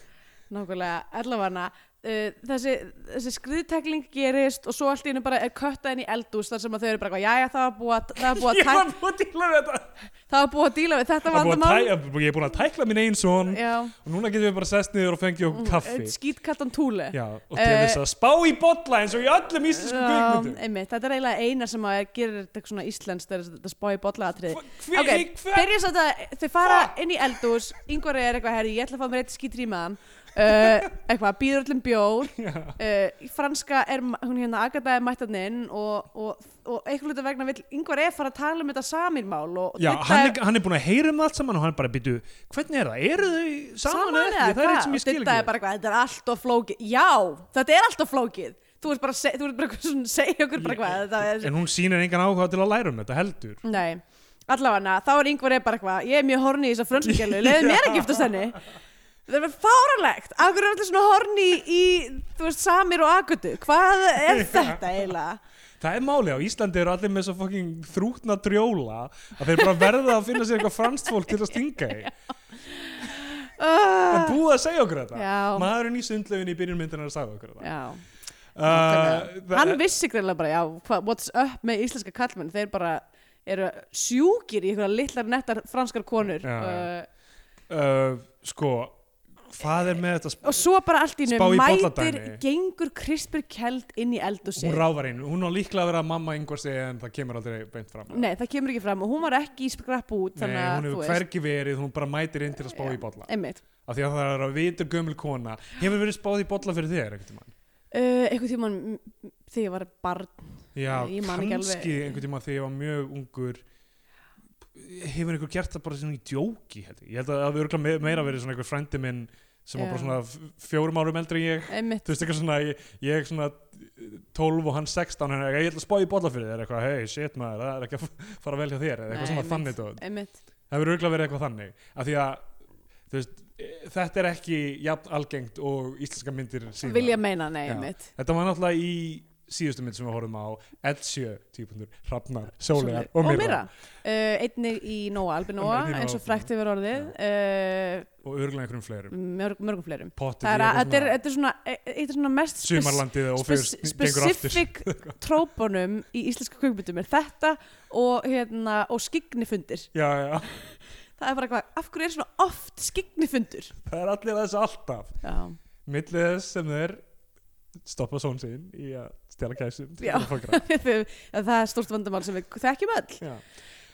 Nákvæmlega, allavega uh, þessi, þessi skriðtekling gerist og svo allt í hennu bara er köttað inn í eldús þar sem að þau eru bara, eitthvað, jæja það var búið að- það var búið
Ég
að
var
tæk-
búin að díla við þetta
það var búið að díla við þetta
Það er búið að
vandamál
tæ- Ég er búin að tækla minn einn son
Já,
og núna getum við bara sest niður og fengið okkur kaffi
skýtkattan túle
Já, og til
Mm, Eh,
þess að spá í bolla eins og í öllum íslenskum kvikmyndum
Um, einmitt, þetta er eiginlega eina sem að gerir þetta svona íslenskt er þetta spói bollaatrið
Hva- hver-
ok,
hver-
byrjum svo þetta þau fara inn í eldús, yngvar er eitthvað herri, ég ætla að fá mér eitt skítrímaðan uh, eitthvað, býður öllum bjór uh, í franska er ma- hún hérna Agatha er mættaninn og, og, og eitthvað hluta vegna vill, yngvar er fara að tala um þetta samirmál og
Já,
Didda
hann er, hann er búin að heyra um allt saman og hann er bara býtu, hvernig er það? Eru þau saman, eða ekki? um Það er eitt sem ég skil ekki
Þetta er bara eitthvað, þetta er allt of flókið Já, þetta er allt of flókið Þú ert bara að seg- þú ert bara eitthvað svona að segja okkur bara hvað þetta er
En hún sýnir engan áhuga til að læra um þetta heldur
Nei, allavega þá er yngvar eða bara eitthvað, ég er mjög horni í þessa frönskjölu, leiði mér að giftast henni Það er bara fáralegt, af hverju er allir svona horni í, þú veist, Samir og Agutu, hvað er þetta eiginlega?
Það er máli á Íslandi eru allir með svo fucking þrútna drjóla að þeir bara verða að finna sér eitthvað franst fólk til að stinga í Það er
Uh,
búið að segja okkur þetta
Já.
Maðurinn í sundlefin í byrjun myndina er að sagði okkur þetta
já,
uh,
uh, hann vissi greinlega bara, já, hva, what's up með íslenska kallmenn, þeir bara eru sjúkir í einhverja litlar nettar franskar konur
Já, já.
uh,
uh, Sko, hvað er með þetta sp-
og svo bara allt í
Spá
nú
í
mætir,
bolladæmi.
gengur Krispur Kjeld inn í eldúsi
Hún ráfar inn, hún á líklega að vera mamma yngvar sig en það kemur aldrei beint fram
Nei, það kemur ekki fram og hún var ekki í skrapp út
Nei,
þannig að
hún
þú
hefur
veist.
hvergi verið, hún bara mætir inn til að spá
Já,
í bolla
einmitt
af því að það er að vitur gömul kona hefur verið spáð í bolla fyrir þér einhvern tímann
uh, einhvern tímann mm, þegar ég var barn
já,
Ég man ekki
kannski
alveg.
einhvern tímann þegar ég var mjög ungur hefur einhver gert það bara sem í djóki held ég. ég held að það hafi örgulega meira verið svona einhver frændi minn sem var
Já.
bara svona f- fjórum árum eldri en ég
einmitt
þú veist eitthvað svona, ég, ég er svona 12 og hann 16 hann er eitthvað, ég ætla að spá í bolla fyrir þér eitthvað, hei, shit maður, það er ekki að f- fara vel hjá þér eða eitthvað
Nei,
svona
einmitt.
þannig dót.
einmitt
það verður auðvitað verið eitthvað þannig af því að þú veist, e, þetta er ekki jafn algengt og íslenska myndir síðan
vilja meina nei
Já.
einmitt
þetta var náttúrulega í síðustu mynd sem við horfum á Eldsjö, típundur, Hrafnar, Sólegar og
og
Myrra
Myrra uh, einnig í Nóa, Albinóa
Einnig í Nóa,
eins og frækt yfir orðið uh,
og örgulega einhverjum fleirum
mörg, mörgum fleirum
Pottið
það er að, þetta er,
eitthvað
þetta er svona e, eitt svona mest
svona Sumarlandið og fyrir
spes-
gengur aftur
specific trópunum í íslenska kvikmyndum er þetta og, hérna, og skignifundir
Já, já,
það er bara hvað, af hverju er svona oft skignifundur
það er allir þess alltaf
já,
millið þess sem þeir stoppa són sín í að stela kæsum til
Já.
að fólkra
það er stórt vandamál sem við þekkjum öll
Já.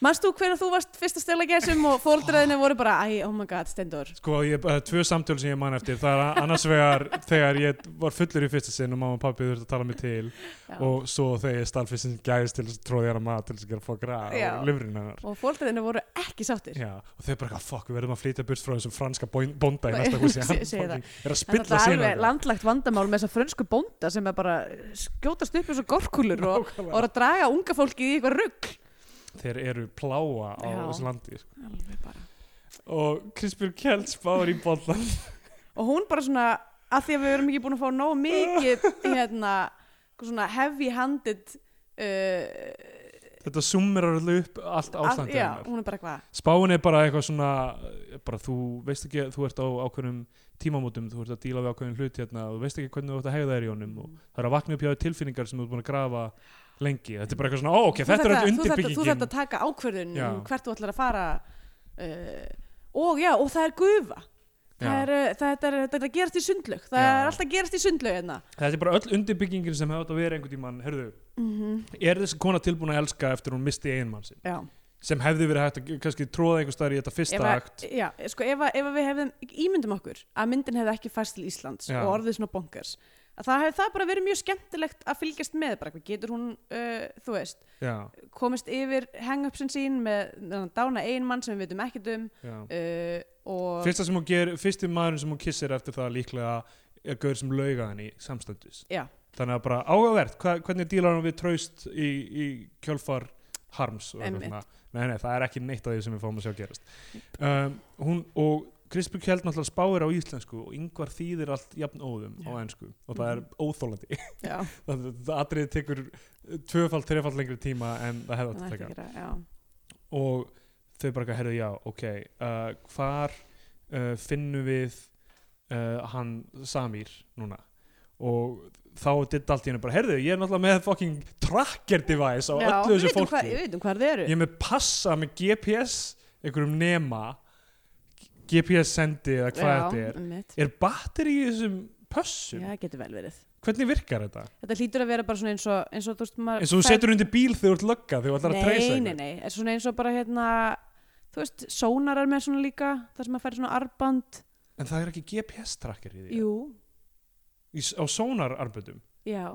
manst þú hvernig þú varst fyrst að stela gæsum og fóldræðinni voru bara, æ, oh my god, Steindor
Sko, ég, uh, tvö samtöl sem ég man eftir það er annars vegar þegar ég var fullur í fyrsta sinn og mamma og pappi þurfti að tala mig til
Já.
og svo þegar ég stal fyrst sinn gæðist til þess að tróði hana mat til þess að gera fokra
Já.
og lifrin hennar
og fóldræðinni voru ekki sáttir
Já, og þau bara eitthvað, fokk, við verðum að flytja burt frá þessum franska bóin- bónda í næsta
Nei,
húsi
ég
hann
segi það.
fucking er að
En
spilla
það er alveg
sína
landlagt vandamál með þessa frönsku bónda sem er bara skjótast upp eins og gorkulur og, og er að draga unga fólki í eitthvað rugg
þeir eru pláa á
Já.
þessu landi sko.
Alveg bara
og Krispjörg Kjelds báður í bóndan
og hún bara svona að því að við erum ekki búin að fá nógu mikið hérna, svona heavy handed uh,
þetta summerar alveg upp allt
að,
ástandið
já,
hennar.
hún er bara eitthvað
spáin er bara eitthvað svona eh, bara þú veist ekki, þú ert á ákveðnum tímamótum, þú ert að díla við ákveðnum hlut hérna og þú veist ekki hvernig þú ert að hegða þér í honum
Mm.
og það er að vakna upp hjá þér tilfinningar sem þú ert búin að grafa lengi, þetta er bara eitthvað svona, ó ok,
Þú
þetta er
þarft að-
öll
þú þarft að- þú þarft
undirbyggingin
að taka ákverðun
Já.
um hvert þú ætlar að fara uh, og já, og það er gufa það
Já.
er, uh, það, það er, það er að gerast í sundlög það
Já.
er alltaf að gerast í sundlög hérna
þetta er bara öll undirbyggingin sem hefði átt að vera einhvern tímann, herðu,
Mhm.
er þessi kona tilbúin að elska eftir hún misti einmann sinn
já.
sem hefði verið hægt að kannski tróða einhver staðar í þetta fyrsta
ef, að,
akt
já, sko, ef, að, ef að við hefðum ímyndum okkur að myndin hefði ekki fæst til Íslands
Já.
og orðið svona bonkers að það hefði það bara verið mjög skemmtilegt að fylgjast með bara hvað getur hún, uh, þú veist
já,
komist yfir hang-upsin sín með þennan dána einmann sem við veitum ekkert um
já.
uh, og
fyrsta sem hún ger, fyrsti maðurinn sem hún kissir eftir það líklega er gaur sem lauga henni samstundis
Já.
þannig að bara áhugavert, hva, hvernig dílar hann við traust í, í kjölfar harms og
Einmitt.
svona. nei, nei, það er ekki neitt af því sem við fáum að sjá gerast um, hún og Krispjör Kjeld náttúrulega spáir á íslensku og yngvar þýðir allt jafn óðum á
Já. Mhm.
ennsku og það er óþólandi
já,
það, það atriði tekur tvöfald, trefald lengri tíma en það hefði átt að
það ætti
taka
að gera, já.
og þau bara eitthvað, herðu, já, ok uh, hvar uh, finnum við uh, hann Samir núna og þá ditt allt í hennu bara, herðu, ég er náttúrulega með fucking tracker device á
já,
öllu
við
þessu
veitum
fólki
hvað, við veitum hvað þeir eru
ég er með passa með GPS einhverjum nema GPS sendi eða hvað þetta er
einmitt.
er batteri í þessum pössum,
já, það getur vel verið
hvernig virkar þetta?
þetta hlýtur að vera bara svona eins og eins og þú, veist, maður
eins og þú
fær-
setur undir bíl þegar þú ert lögga þegar þú ætlar að treysa
Nei, nei, nei, er svona eins og bara hérna þú veist, sónarar með svona líka þar sem að færi svona arband
en það er ekki GPS tracker í því
Jú,
í, s- á sónararbetum
já,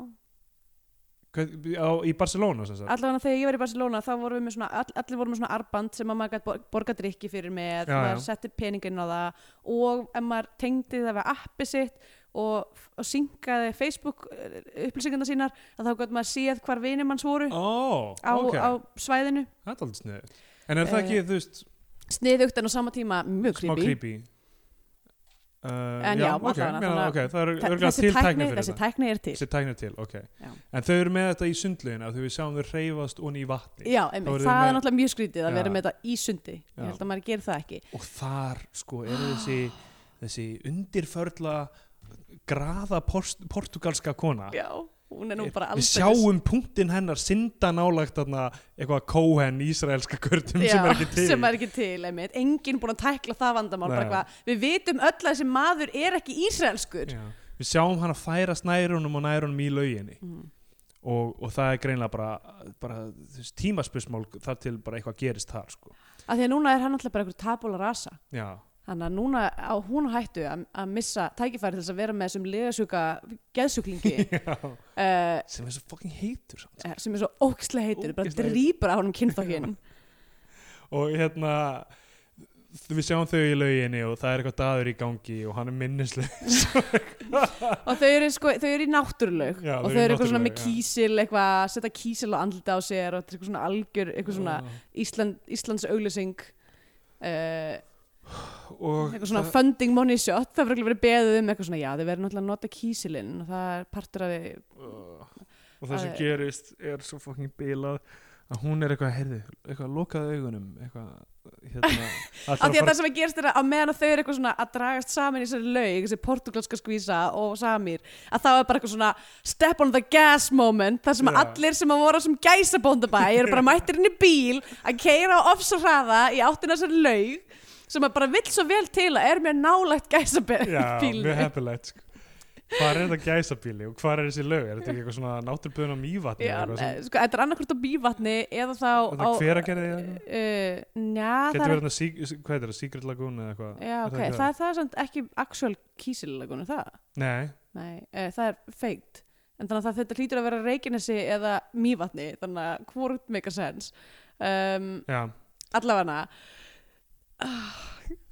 Hvað- á, í Barcelona sem sagt
allavega þegar ég var í Barcelona þá vorum við með svona, all, allir vorum með svona arband sem að maður gætt bor borga drikki fyrir með
Já,
maður
já.
setti peningin á það og ef maður tengdi það við appi sitt og, og syngaði Facebook upplýsingarna sínar að þá gætt maður séð hvar vinir manns voru
ó,
á,
ok,
á svæðinu
það er aldrei snið en er það
Eh,
ekki, þú veist,
sniðugt en á sama tíma mjög
smá
creepy
creepy uh,
En já,
ok,
allavega,
já,
þannig að-
ok, það er
Þe-
örgulega til tækni fyrir
þessi
þetta
tækni er til
þessi tækni er til, ok
Já.
en þau eru með þetta í sundlegin að þau við sjáum þau reyfast onni í vatni
Já, einmitt,
Þá eru
það,
þeir með-
er náttúrulega mjög skrítið að
Já.
vera með þetta í sundi
Já.
Ég held að maður gerir það ekki
og þar sko er þessi þessi undirförla graða porst, portugalska kona
Já, hún er nú bara
við
alveg
sjáum punktinn hennar synda nálægt þarna eitthvað Cohen ísraelska gurnum sem er ekki til
sem er ekki til, einmitt Enginn búin að tækla það vandamál bara
Nei.
hvað, Við vitum öll að þessi maður er ekki ísraelskur
Já. við sjáum hann að færast nærunum og nærunum í lauginni
Mhm.
og, og það er greinlega bara, bara þess, tímaspörsmál þar til bara eitthvað gerist þar sko.
Af því að núna er hann alltaf bara einhver tabula rasa
já,
Þannig að núna á hún á hættu að, að missa tækifæri til þess að vera með þessum legasjúka geðsjúklingi uh,
sem er svo fucking heitur samt.
eh, sem er svo ókslega heitur, bara
Ógeðslega heitur.
drýpur á honum kynþokkinn
og hérna við sjáum þau í lauginni og það er eitthvað daður í gangi og hann er minnisleg
og þau eru, sko, þau eru í náttúrulaug
Já,
og
þau
þau
eru í
eru eitthvað svona með
náttúrulaug, já.
kísil eitthvað, setja kísil og andlita á sér og þetta er eitthvað svona algjör, eitthvað svona Ísland, Íslands auglýsing uh,
og
eitthvað svona
það-
funding money shot það verður verið beðið um eitthvað svona, já þau verður náttúrulega að nota kísilinn og það er partur af því
og og það sem
Það er-
gerist er svo fucking bilað að hún er eitthvað, heyrðu, eitthvað lokað augunum eitthvað, hérna
Af
ætlar að
því að það
fara,
sem að gerist er að á meðan að þau eru eitthvað svona að dragast saman í þessari laug, þessi portugalska skvísa og samir, að það er bara eitthvað svona step on the gas moment, þar sem að
Já.
allir sem að voru á sem gæsabóndabæ eru bara mættir inn í bíl að keira á ofs og hraða í áttina að þessari laug sem að bara vill svo vel til að er mér nálægt
já,
gæsabóndabíl.
mjög heppilegt sko. hvað er þetta gæsabíli og hvað er þessi lög, er þetta ekki eitthvað svona náttúrböðun á mývatni
Já,
eða eitthvað
ne,
sem-
sko, þetta er annarkvort á bívatni eða þá
þetta
á...
hver að gera því
Uh, njá,
getur
það er...
verið þetta, hvað er þetta, Secret Lagoon eða eitthvað
Já,
Er
ok,
ekki
það er, það er samt ekki actual kísililaguna, það?
nei,
Nei, e, það er feikt en þannig að það, þetta hlýtur að vera Reykjanesi eða Mývatni, þannig að hvort make a sense um,
já,
allavega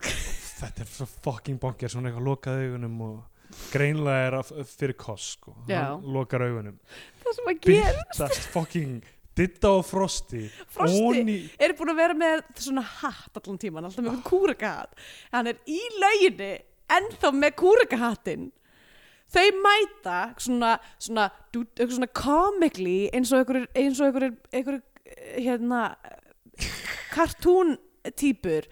þetta er svo fucking bonkers hún er eitthvað lokað augunum og greinlega er að fyrir kost sko. Hann
Já.
lokar augunum
það sem að gera,
byrtast fucking ditta og frosti
Frosti
Oní,
er búin að vera með svona hatt allan tíman, alltaf með kúrakahatt hann er í lauginni ennþá með kúrakahattinn þau mæta svona, svona, dú- eitthvað svona comically eins og einhverjir eins og einhverjir, einhverjir hérna kartún típur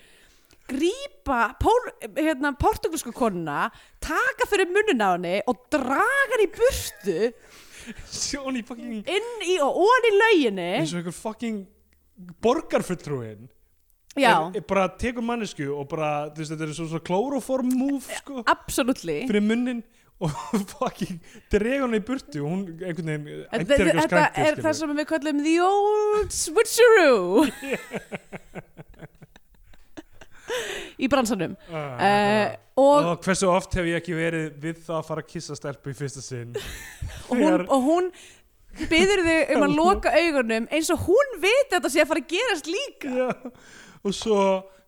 grípa pór, hérna, portugalsku konuna taka fyrir munnin á henni og draga henni í burtu
Oní fucking
inn í og ofan í lauginni
eins og einhver fucking borgarfulltrúin
já,
Er, er eh, bara tekur mannesku og bara þú veist, þetta er svo, svo klóroform move sko,
absolutely
fyrir munnin og fucking dregur hann í burtu og hún einhvern veginn
Þetta,
ættir eitthvað
þetta
skrækti
er það sem við kallum the old switcheroo í bransanum
Ah,
uh, og,
Og hversu oft hef ég ekki verið við það að fara að kissa stelpu í fyrsta sinn
og, hún, og hún byður þau um að loka augunum eins og hún veit að þetta sé að fara að gerast líka
Já, og svo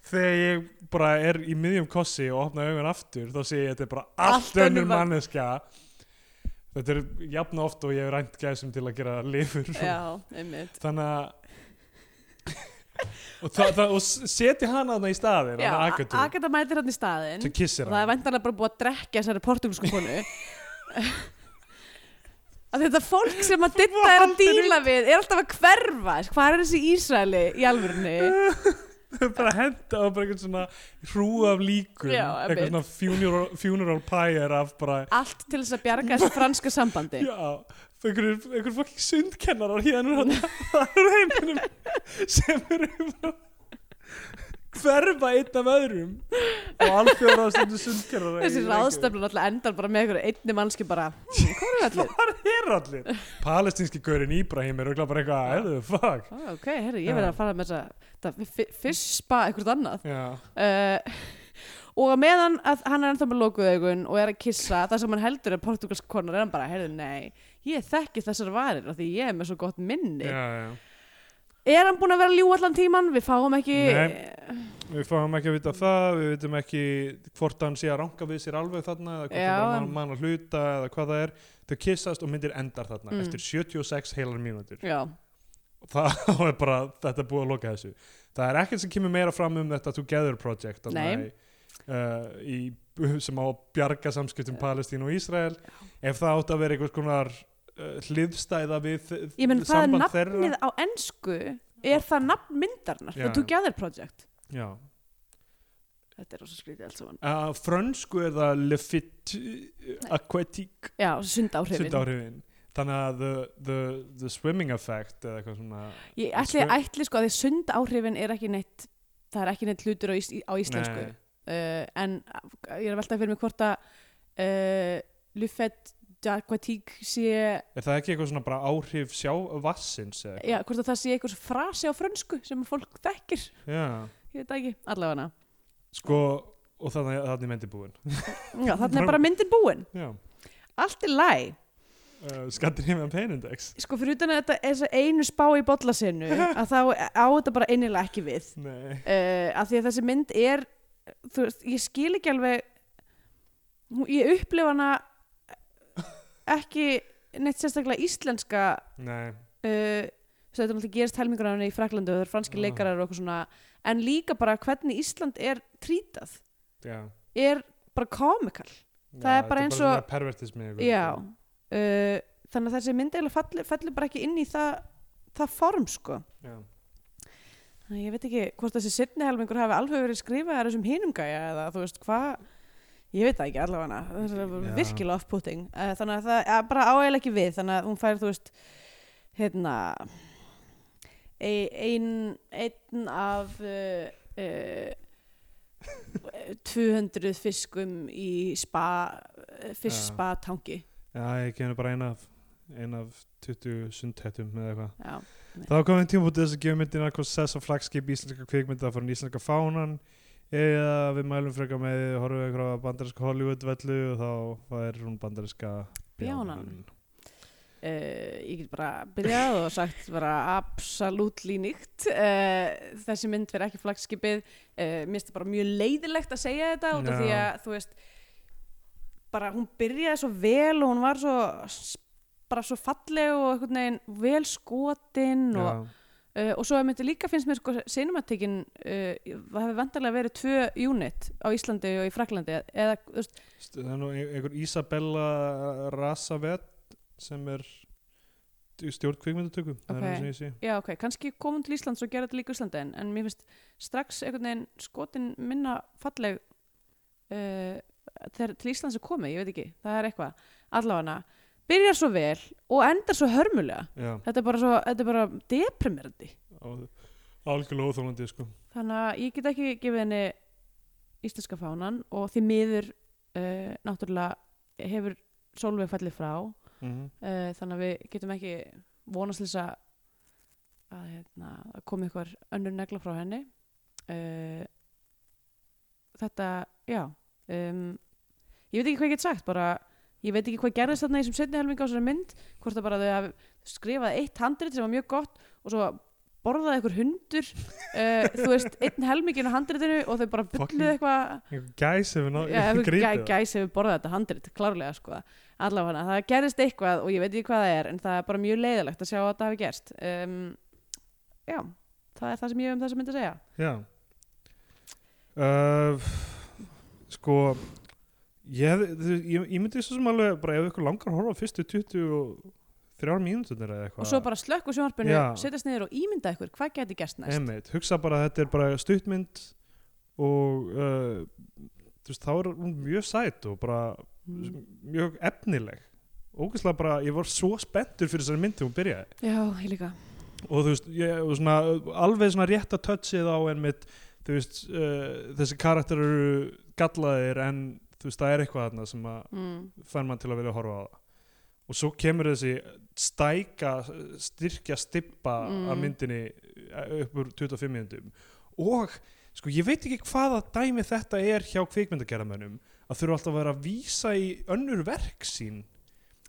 þegar ég bara er í miðjum kossi og opna augun aftur þá sé ég að þetta er bara allt,
Allt önnur
önnur
mann-
manneska þetta er jafn oft og ég hef rænt gæsum til að gera lifur
Já, einmitt
þannig að og, það, það, og s- setja hana þarna í staðin
Já,
hana Agatu
Agata mætir hann í staðinn
sem kissir
Það er
hana
væntanlega bara búið að drekja þessari portugalsku konu að þetta fólk sem að ditta er að díla við er alltaf að hverfa hvað er þessi Ísraeli í alvörunni
bara henda og bara einhvern svona hrú af líkum
Já,
eitthvað
einmitt.
svona funeral, funeral pyre af bara
allt til þess að bjarga þessu franska sambandi
Já, einhverjur einhver fokkin sundkennarar hérna úr hann það eru heiminum sem eru bara hverfa einn af öðrum og alþjóður ástundu sundkennarar
þessi ráðstöflun alltaf endar bara með einhverju einni mannski bara, "Hmm, hvað er allir?
Hvað er allir? Palestinski gaurin Íbrahim er auðvitað bara eitthvað, heyrðu, fuck
Oh, ok, herri, ég verði að fara með þessa fyrstba eitthvað annað
Já,
uh, og á meðan að hann er ennþá með lokuð augun og er að kissa það sem hann heldur er portugalsk konar er hann bara, heyrðu, nei, ég þekki þessar varir af því ég er með svo gott minni
já, já
er hann búin að vera að ljú allan tíman við fáum ekki
Við fáum ekki að vita það, við vitum ekki hvort hann sé að ranka við sér alveg þarna eða hvort
Já,
hann bara
en-
man, man að hluta eða hvað það er Þau kissast og myndir endar þarna
Mm.
eftir 76 heilar mínútur
já,
það þá er bara, þetta er búið að loka þessu það er ekkert sem kemur meira fram um þetta Together Project þarna
Nei.
í, uh, í, sem á að bjarga samskiptum Palestín og Ísrael ef það átt að vera einhvers konar uh, hliðstæða við eh,
ég menn það er
samband
nafnið á ennsku er það nafn myndarnar,
Já,
The
já.
Together Project
þeirra já.
þetta er rosa skrítið alls saman
Uh, frönsku er það Le Fit eh, Aquatique
já, sundáhrifin
sundáhrifin þannig að the, the, the swimming effect eða eitthvað svona
ég ætli,
Svö-
ætli sko að því sundáhrifin er ekki neitt það er ekki neitt hlutur á, ís, á íslensku
Nei.
uh, en uh, ég er að velta fyrir mig hvort að uh, Lufet Aquatique sé
er það ekki eitthvað svona bara áhrif sjá vassins eða
já, hvort að það sé einhvers frasi á frönsku sem að fólk þekkir,
eitthvað já.
ég veit það ekki allavega
sko og þannig að þannig myndi búin
já, þarna er bara myndin búin
já
allt er læg
uh, Scandinavian Pain Index
sko fyrir utan að þetta er þess einu spá í bollasinu að þá á þetta bara einilega ekki við
Nei.
uh, að því að þessi mynd er þú veist, ég skil ekki alveg hún- ég upplifa hana ekki neitt sérstaklega íslenska
Nei.
uh, þess að þetta náttúrulega gerist helmingur á henni í Fraklandu og það eru franski
Ah.
leikarar og eitthvað svona en líka bara hvernig Ísland er trítað
Já.
er bara komikal Það er bara eins og-
pervertismi
já uh, þannig að þessi mynd eiginlega fellur, fellur bara ekki inn í það, það form sko
já.
þannig að ég veit ekki hvort þessi setni helmingur hafi alveg verið skrifaðar þessum hinum gæja eða þú veist hvað ég veit það ekki allavega það er
Já.
virkilega off-putting Eh, þannig að það að bara áægilega ekki við þannig að hún fær þú veist hérna e- ein, einn af uh, uh, 200 fiskum í spa e,
Já.
fisk-spa tangi
já, ég kemur bara eina af, eina af 20 sundhettum eða eitthvað
já,
Það var komin tíma út þess að gefa myndina eitthvað sess og flagskip íslenska kvikmynda að fara íslenska fánan eða við mælum frekar með því, horfum við einhverja bandarinska Hollywood vellu og þá er hún bandarinska
Bjánan. Uh, ég get bara byrjað og sagt bara absolutely nýtt uh, þessi mynd verið ekki flagskipið uh, mér finnst það bara mjög leiðilegt að segja þetta út
Já.
af því að þú veist bara hún byrjaði svo vel og hún var svo s- bara svo falleg og einhvern veginn vel skotin og,
Já,
uh, og svo myndi líka finnst mér sko cinematikinn uh, það hefur vantarlega verið tvö unit á Íslandi og í Fraklandi eða þú veist,
St- Það er nú ein- einhver Isabella Rasavet sem er stjórn kvikmyndatöku Það
Ok.
er það sem ég sé
Já, ok, kannski komum til Íslands og gera þetta líka í Íslandi en, en mér finnst strax einhvern veginn skotin minna falleg uh, þegar til Íslands er komið, ég veit ekki, það er eitthvað allavega, byrjar svo vel og endar svo hörmulega,
Já,
þetta er bara svo þetta er bara deprimerandi
og- algjörlega óþólandi sko
þannig að ég get ekki gefið henni íslenska fánan og því miður uh, náttúrulega hefur Solveig fallið frá
Mhm.
uh, þannig að við getum ekki vonast til þess að að, hérna, að koma ykkur önnur negla frá henni uh, þetta, já um, ég veit ekki hvað ég get sagt bara, ég veit ekki hvað gerðist þarna í þessum setni helminga á þessari mynd, hvort að bara þau hafi skrifað eitt handrit sem var mjög gott og svo borðaði ykkur hundur uh, þú veist, einn helmingin á handritinu og þau bara bulluð
Fucking-
eitthvað
Einhver Gæs hefur ná
Já, hefur
gripið
gæ,
það.
gæs hefur borðað þetta handrit, klárlega sko allavega, það gerist eitthvað og ég veit ekki hvað það er en það er bara mjög leiðilegt að sjá að það hafi gerst um, já það er það sem ég hef um þess að mynda segja
Já uh, Sko ég, hef, ég, ég myndi svo sem alveg bara ef ykkur langar að horfa á fyrstu 23 mínútur eða eitthvað
og svo bara slökk úr sjónvarpinu,
Já.
setjast niður og ímynda ykkur hvað geti gerst næst
Einmitt, hugsa bara að þetta er bara stuttmynd og uh, þú veist, þá er hún mjög sæt og bara
Mm.
mjög efnileg ógeðslega bara, ég var svo spenntur fyrir þessari mynd þegar hún byrjaði
já, ég líka
og þú veist, ég, og svona, alveg svona rétt að touchið á einmitt þú veist, uh, þessi karakter eru gallaðir en þú veist, það er eitthvað þarna sem að
mm.
fær mann til að vilja horfa á það og svo kemur þessi stæka styrkja stippa
Mm.
af myndinni eh, upp úr 25 minnundum og sko ég veit ekki hvaða dæmi þetta er hjá kvikmyndagerðamönnum að þurfa alltaf að vera að vísa í önnur verk sín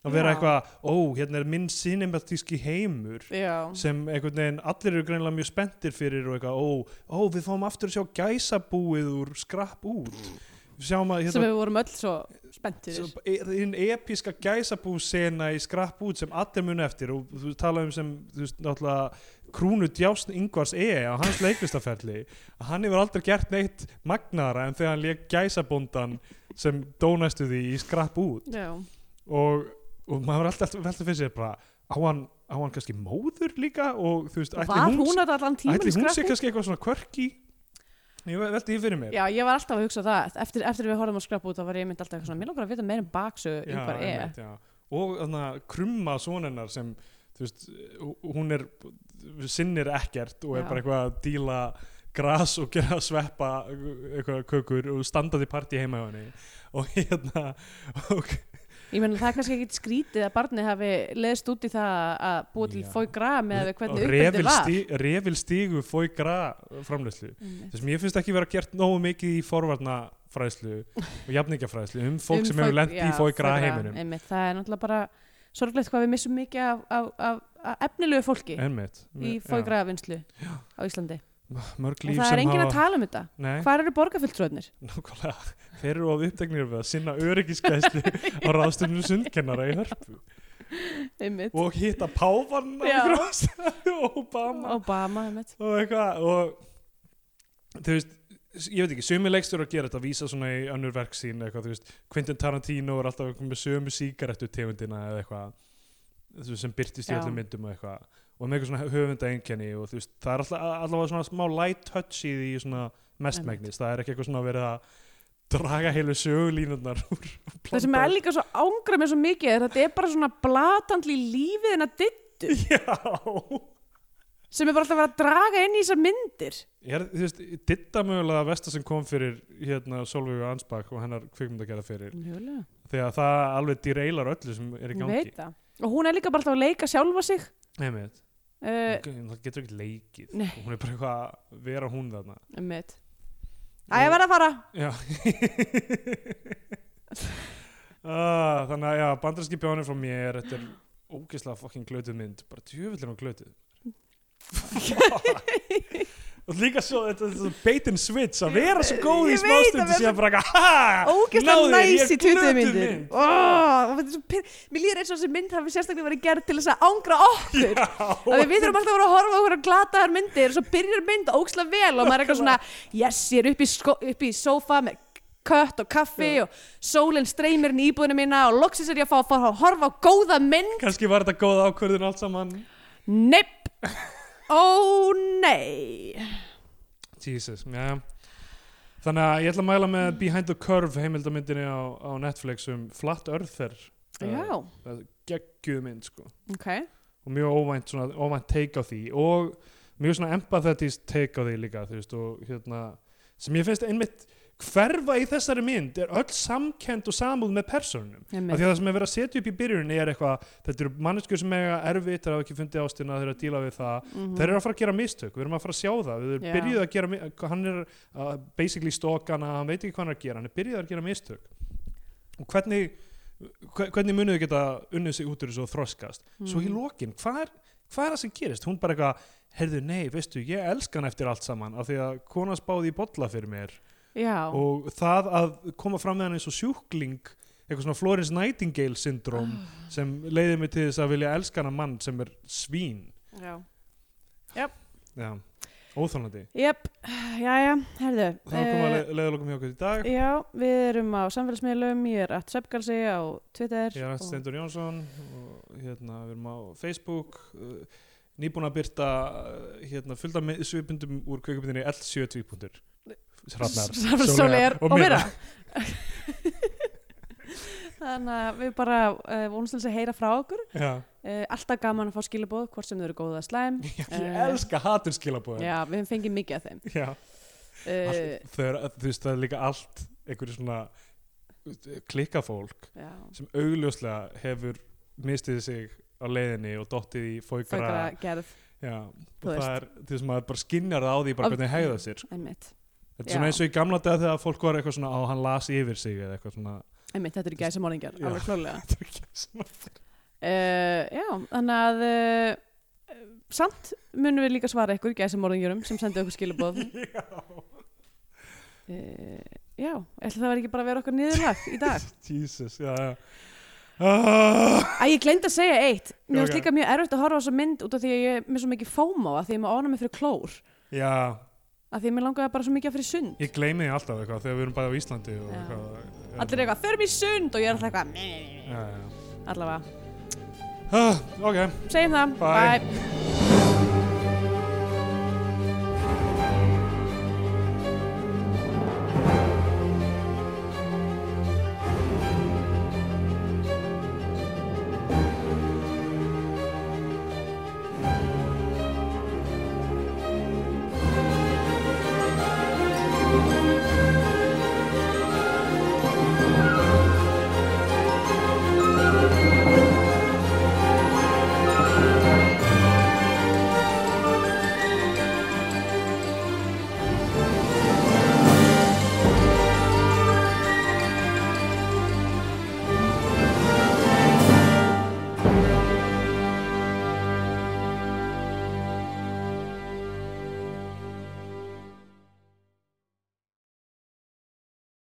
að vera
Já.
eitthvað, ó, hérna er minn cinematíski heimur
já,
sem einhvern veginn allir eru greinilega mjög spenntir fyrir og eitthvað, ó, ó, við fáum aftur að sjá gæsabúið úr skrapp út við sjáum að
sem við vorum öll svo spenntið
Svo- e- hinn episka gæsabúsena í skrapp út sem allir muni eftir og þú tala um sem þú veist náttúrulega krúnu djásn Ingvars E á hans leiklistaferli að hann hefur aldrei gert neitt magnara en þegar hann leik gæsabóndan sem dónastu því í skrapp út
já,
og, og maður er alltaf velta fyrir sér bara á hann, á hann kannski móður líka og þú veist ætli
var
hún,
hún að allan tíman
ætli hún sé kannski eitthvað svona kvörki ég velta því fyrir mér
Já, ég var alltaf að hugsa það, eftir, eftir við horfum að skrapa út þá var ég mynd alltaf eitthvað svona, mér langar að vita meir um baksögu
Já,
yngvar E
einmitt, já. og þannig að krumma sonennar sem þú veist, hún er sinnir ekkert og er
Já.
bara eitthvað að díla gras og gera að sveppa eitthvað kökur og standaði partí heima hjá henni og hérna og,
Ég meina það er kannski ekkit skrítið að barnið hafi leðst út í það að búa til
Já.
fói graf með
og
hvernig uppbyrði
refil,
var.
stí, refil stígu fói gra framleyslu
Einmitt.
þess að mér finnst ekki vera gert nógu mikið í forvarna fræðslu og jafningjafræðslu um fólk
Um
sem hefur
foie-
lent í
já,
fói gra
foie gras,
heiminum
Einmitt, það er náttúrulega bara sorglegt hvað við missum mikið af, af, af, af efnilegu fólki
Einmitt.
í
Já.
fói grafinnslu á Íslandi.
mörg
Og
líf
það er
sem
enginn að
hafa Eh?
tala um þetta.
Nei.
Hvað eru borgarfylltröðnir?
Nákvæmlega, þeir eru of uppteknir við að sinna öryggisgæslu á ráðstöfnum sundkennara í hörpu
Einmitt.
og hitta páfann
Já.
og Obama
Obama, einmitt.
og eitthvað og þú veist, ég veit ekki, sömu leikstur að gera þetta, vísa svona í önnur verk sín eitthvað, þú veist, Quentin Tarantino er alltaf með sömu sígarettu tegundina eða eitthvað þú veist, sem byrtist í
Já.
öllum myndum og eitthvað og með eitthvað svona höfunda einkenni og þú veist, það er alltaf, allavega svona smá light touch í því svona mestmægnis það er ekki eitthvað svona verið að draga heilu sögulínurnar úr
það sem er líka svo ángra mér svo mikið er að þetta er bara svona blatantli lífið en að dittu
Já
sem er bara alltaf að vera að draga inn í þessar myndir
Er, þú veist, ditta mögulega að Vesta sem kom fyrir hérna Solveig og Ansbak og hennar kvikmyndakera fyrir
Mjögulega
þegar það alveg dýreilar öllu sem er í
Ég
gangi
veit það og hún er líka bara alltaf að leika sjálfa sig
Nei,
uh,
hún getur ekki leikið
Nei.
hún er bara eitthvað að vera hún þarna
með að ég verð að fara
já ah, þannig að já, bandarski bjónir frá mér þetta er ógeðslega fucking glötuð mynd bara djöfellin og glötuð og líka svo þetta, þetta bait and switch að vera svo góð í
Ég veit að
smástundu
vera
síðan bara eitthvað, ha,
ógeðslega
náðu Ah, þér, ég
næs
er
í 20
glötuð
myndir
mynd.
Ó, það er svo pyrr- mér líður eins og þessi mynd hafi sérstaklega verið gerð til þess að ángra okkur
Já.
Af því við þurfum alltaf að vera að horfa á okkur að glataðar myndir og svo byrjar mynd ókslega vel og maður er eitthvað svona yes, ég er upp í, sko, upp í sofa með kött og kaffi og sólinn streymir inn í íbúðinu mína og loksins er ég að fá að fara að horfa á góða mynd
kannski var þetta góð ákvörðun allt saman
Nepp Ó nei
Jesus, já Þannig að ég ætla að mæla með Behind the Curve heimildamyndinni á, á Netflix um Flat Earther
Já,
geggjuð mynd sko
ok
og mjög óvænt, svona, óvænt take á því og mjög svona empathetisk take á því líka þú veist og hérna sem ég finnst einmitt hverfa í þessari mynd er öll samkend og samúð með persónunum
Einmitt.
af því að það sem er verið að setja upp í byrjunni er eitthvað þetta eru manneskur sem eiga erfitt þeir hafa ekki fundið ástina þeir eru að díla við það þeir eru að fara að gera mistök, við erum að fara að sjá það við erum
Mhm. Já.
byrjuð að gera, mi- hann er uh, basically stókana, hann veit ekki hvað hann er að gera hann er byrjuð að gera mistök og hvernig, hve- hvernig munuðu geta unnið sig út úr þessu og þroskast svo
Mhm.
í lokin, hvað er, hvað er það sem gerist hún bara eitthvað, heyrðu nei, veistu ég elska hann eftir allt saman, af því að konan spáði í bolla fyrir mér
Já,
og það að koma fram með hann eins og sjúkling eitthvað svona Florence Nightingale syndrom
Ah.
sem leiði mig til þess að vilja elska hann mann sem er svín
já
Já, óþólandi.
Jep, jæja, herðu eh,
Það var komið að leiðalokum hjá okkur í dag.
Já, við erum á samfélagsmiðlum ég er að Sveppgalsi á Twitter
Ég er
og-
Ætti Steindur Jónsson og hérna, við erum á Facebook. uh, Nýbúin að byrta uh, hérna, fullta mi- svipundum úr kveikmyndinni L72 punktur. Hrafnar,
Sóleyjar og Myrra Þannig að við bara uh, vonumst til þess að heyra frá okkur
Já,
uh, Alltaf gaman að fá skilabóð hvort sem þau eru góða slæm
ég
Eh,
elska hatur skilabóðin.
Já, við höfum fengið mikið af þeim
Já.
uh,
Allt- þau eru- Þú veist, það er líka allt einhverju svona klikkafólk
Já
sem augljóslega hefur mistið sig á leiðinni og dottið í fóikara
Fögra gerð,
Já, og
Þú
það
veist.
er því sem maður bara skinjar það á því bara
Af-
hvernig hegða sér. sko.
einmitt
Þetta er
Já.
svona eins og í gamla dag þegar fólk var eitthvað svona á hann las yfir sig eða eitthvað svona.
Einmitt, þetta eru gæsa morðingjar,
Já.
alveg klólega
Þetta er ekki svona.
uh, Já, þannig að uh, samt munum við líka svara ykkur gæsa morðingjurum sem sendi okkur skilabóð uh, Já, ætli það var ekki bara að vera okkar niðurlag í dag
Jesus, já, já. Ah,
Æ, ég gleymd að segja eitt Mér finnst
Ok.
líka mjög erfitt að horfa á þessa mynd út af því að ég er með svo mikið fóma að því að ég maður ána mig fyrir klór
já,
að því að mér langaði bara svo mikið að fyrir sund
ég gleymi því alltaf eitthvað þegar við erum bæði á Íslandi og
Já.
eitthvað.
Allir eru eitthvað, förum í sund og ég er alltaf eitthvað
Já, já.
Allavega,
Ah, ok.
segjum það,
Bye.
bye.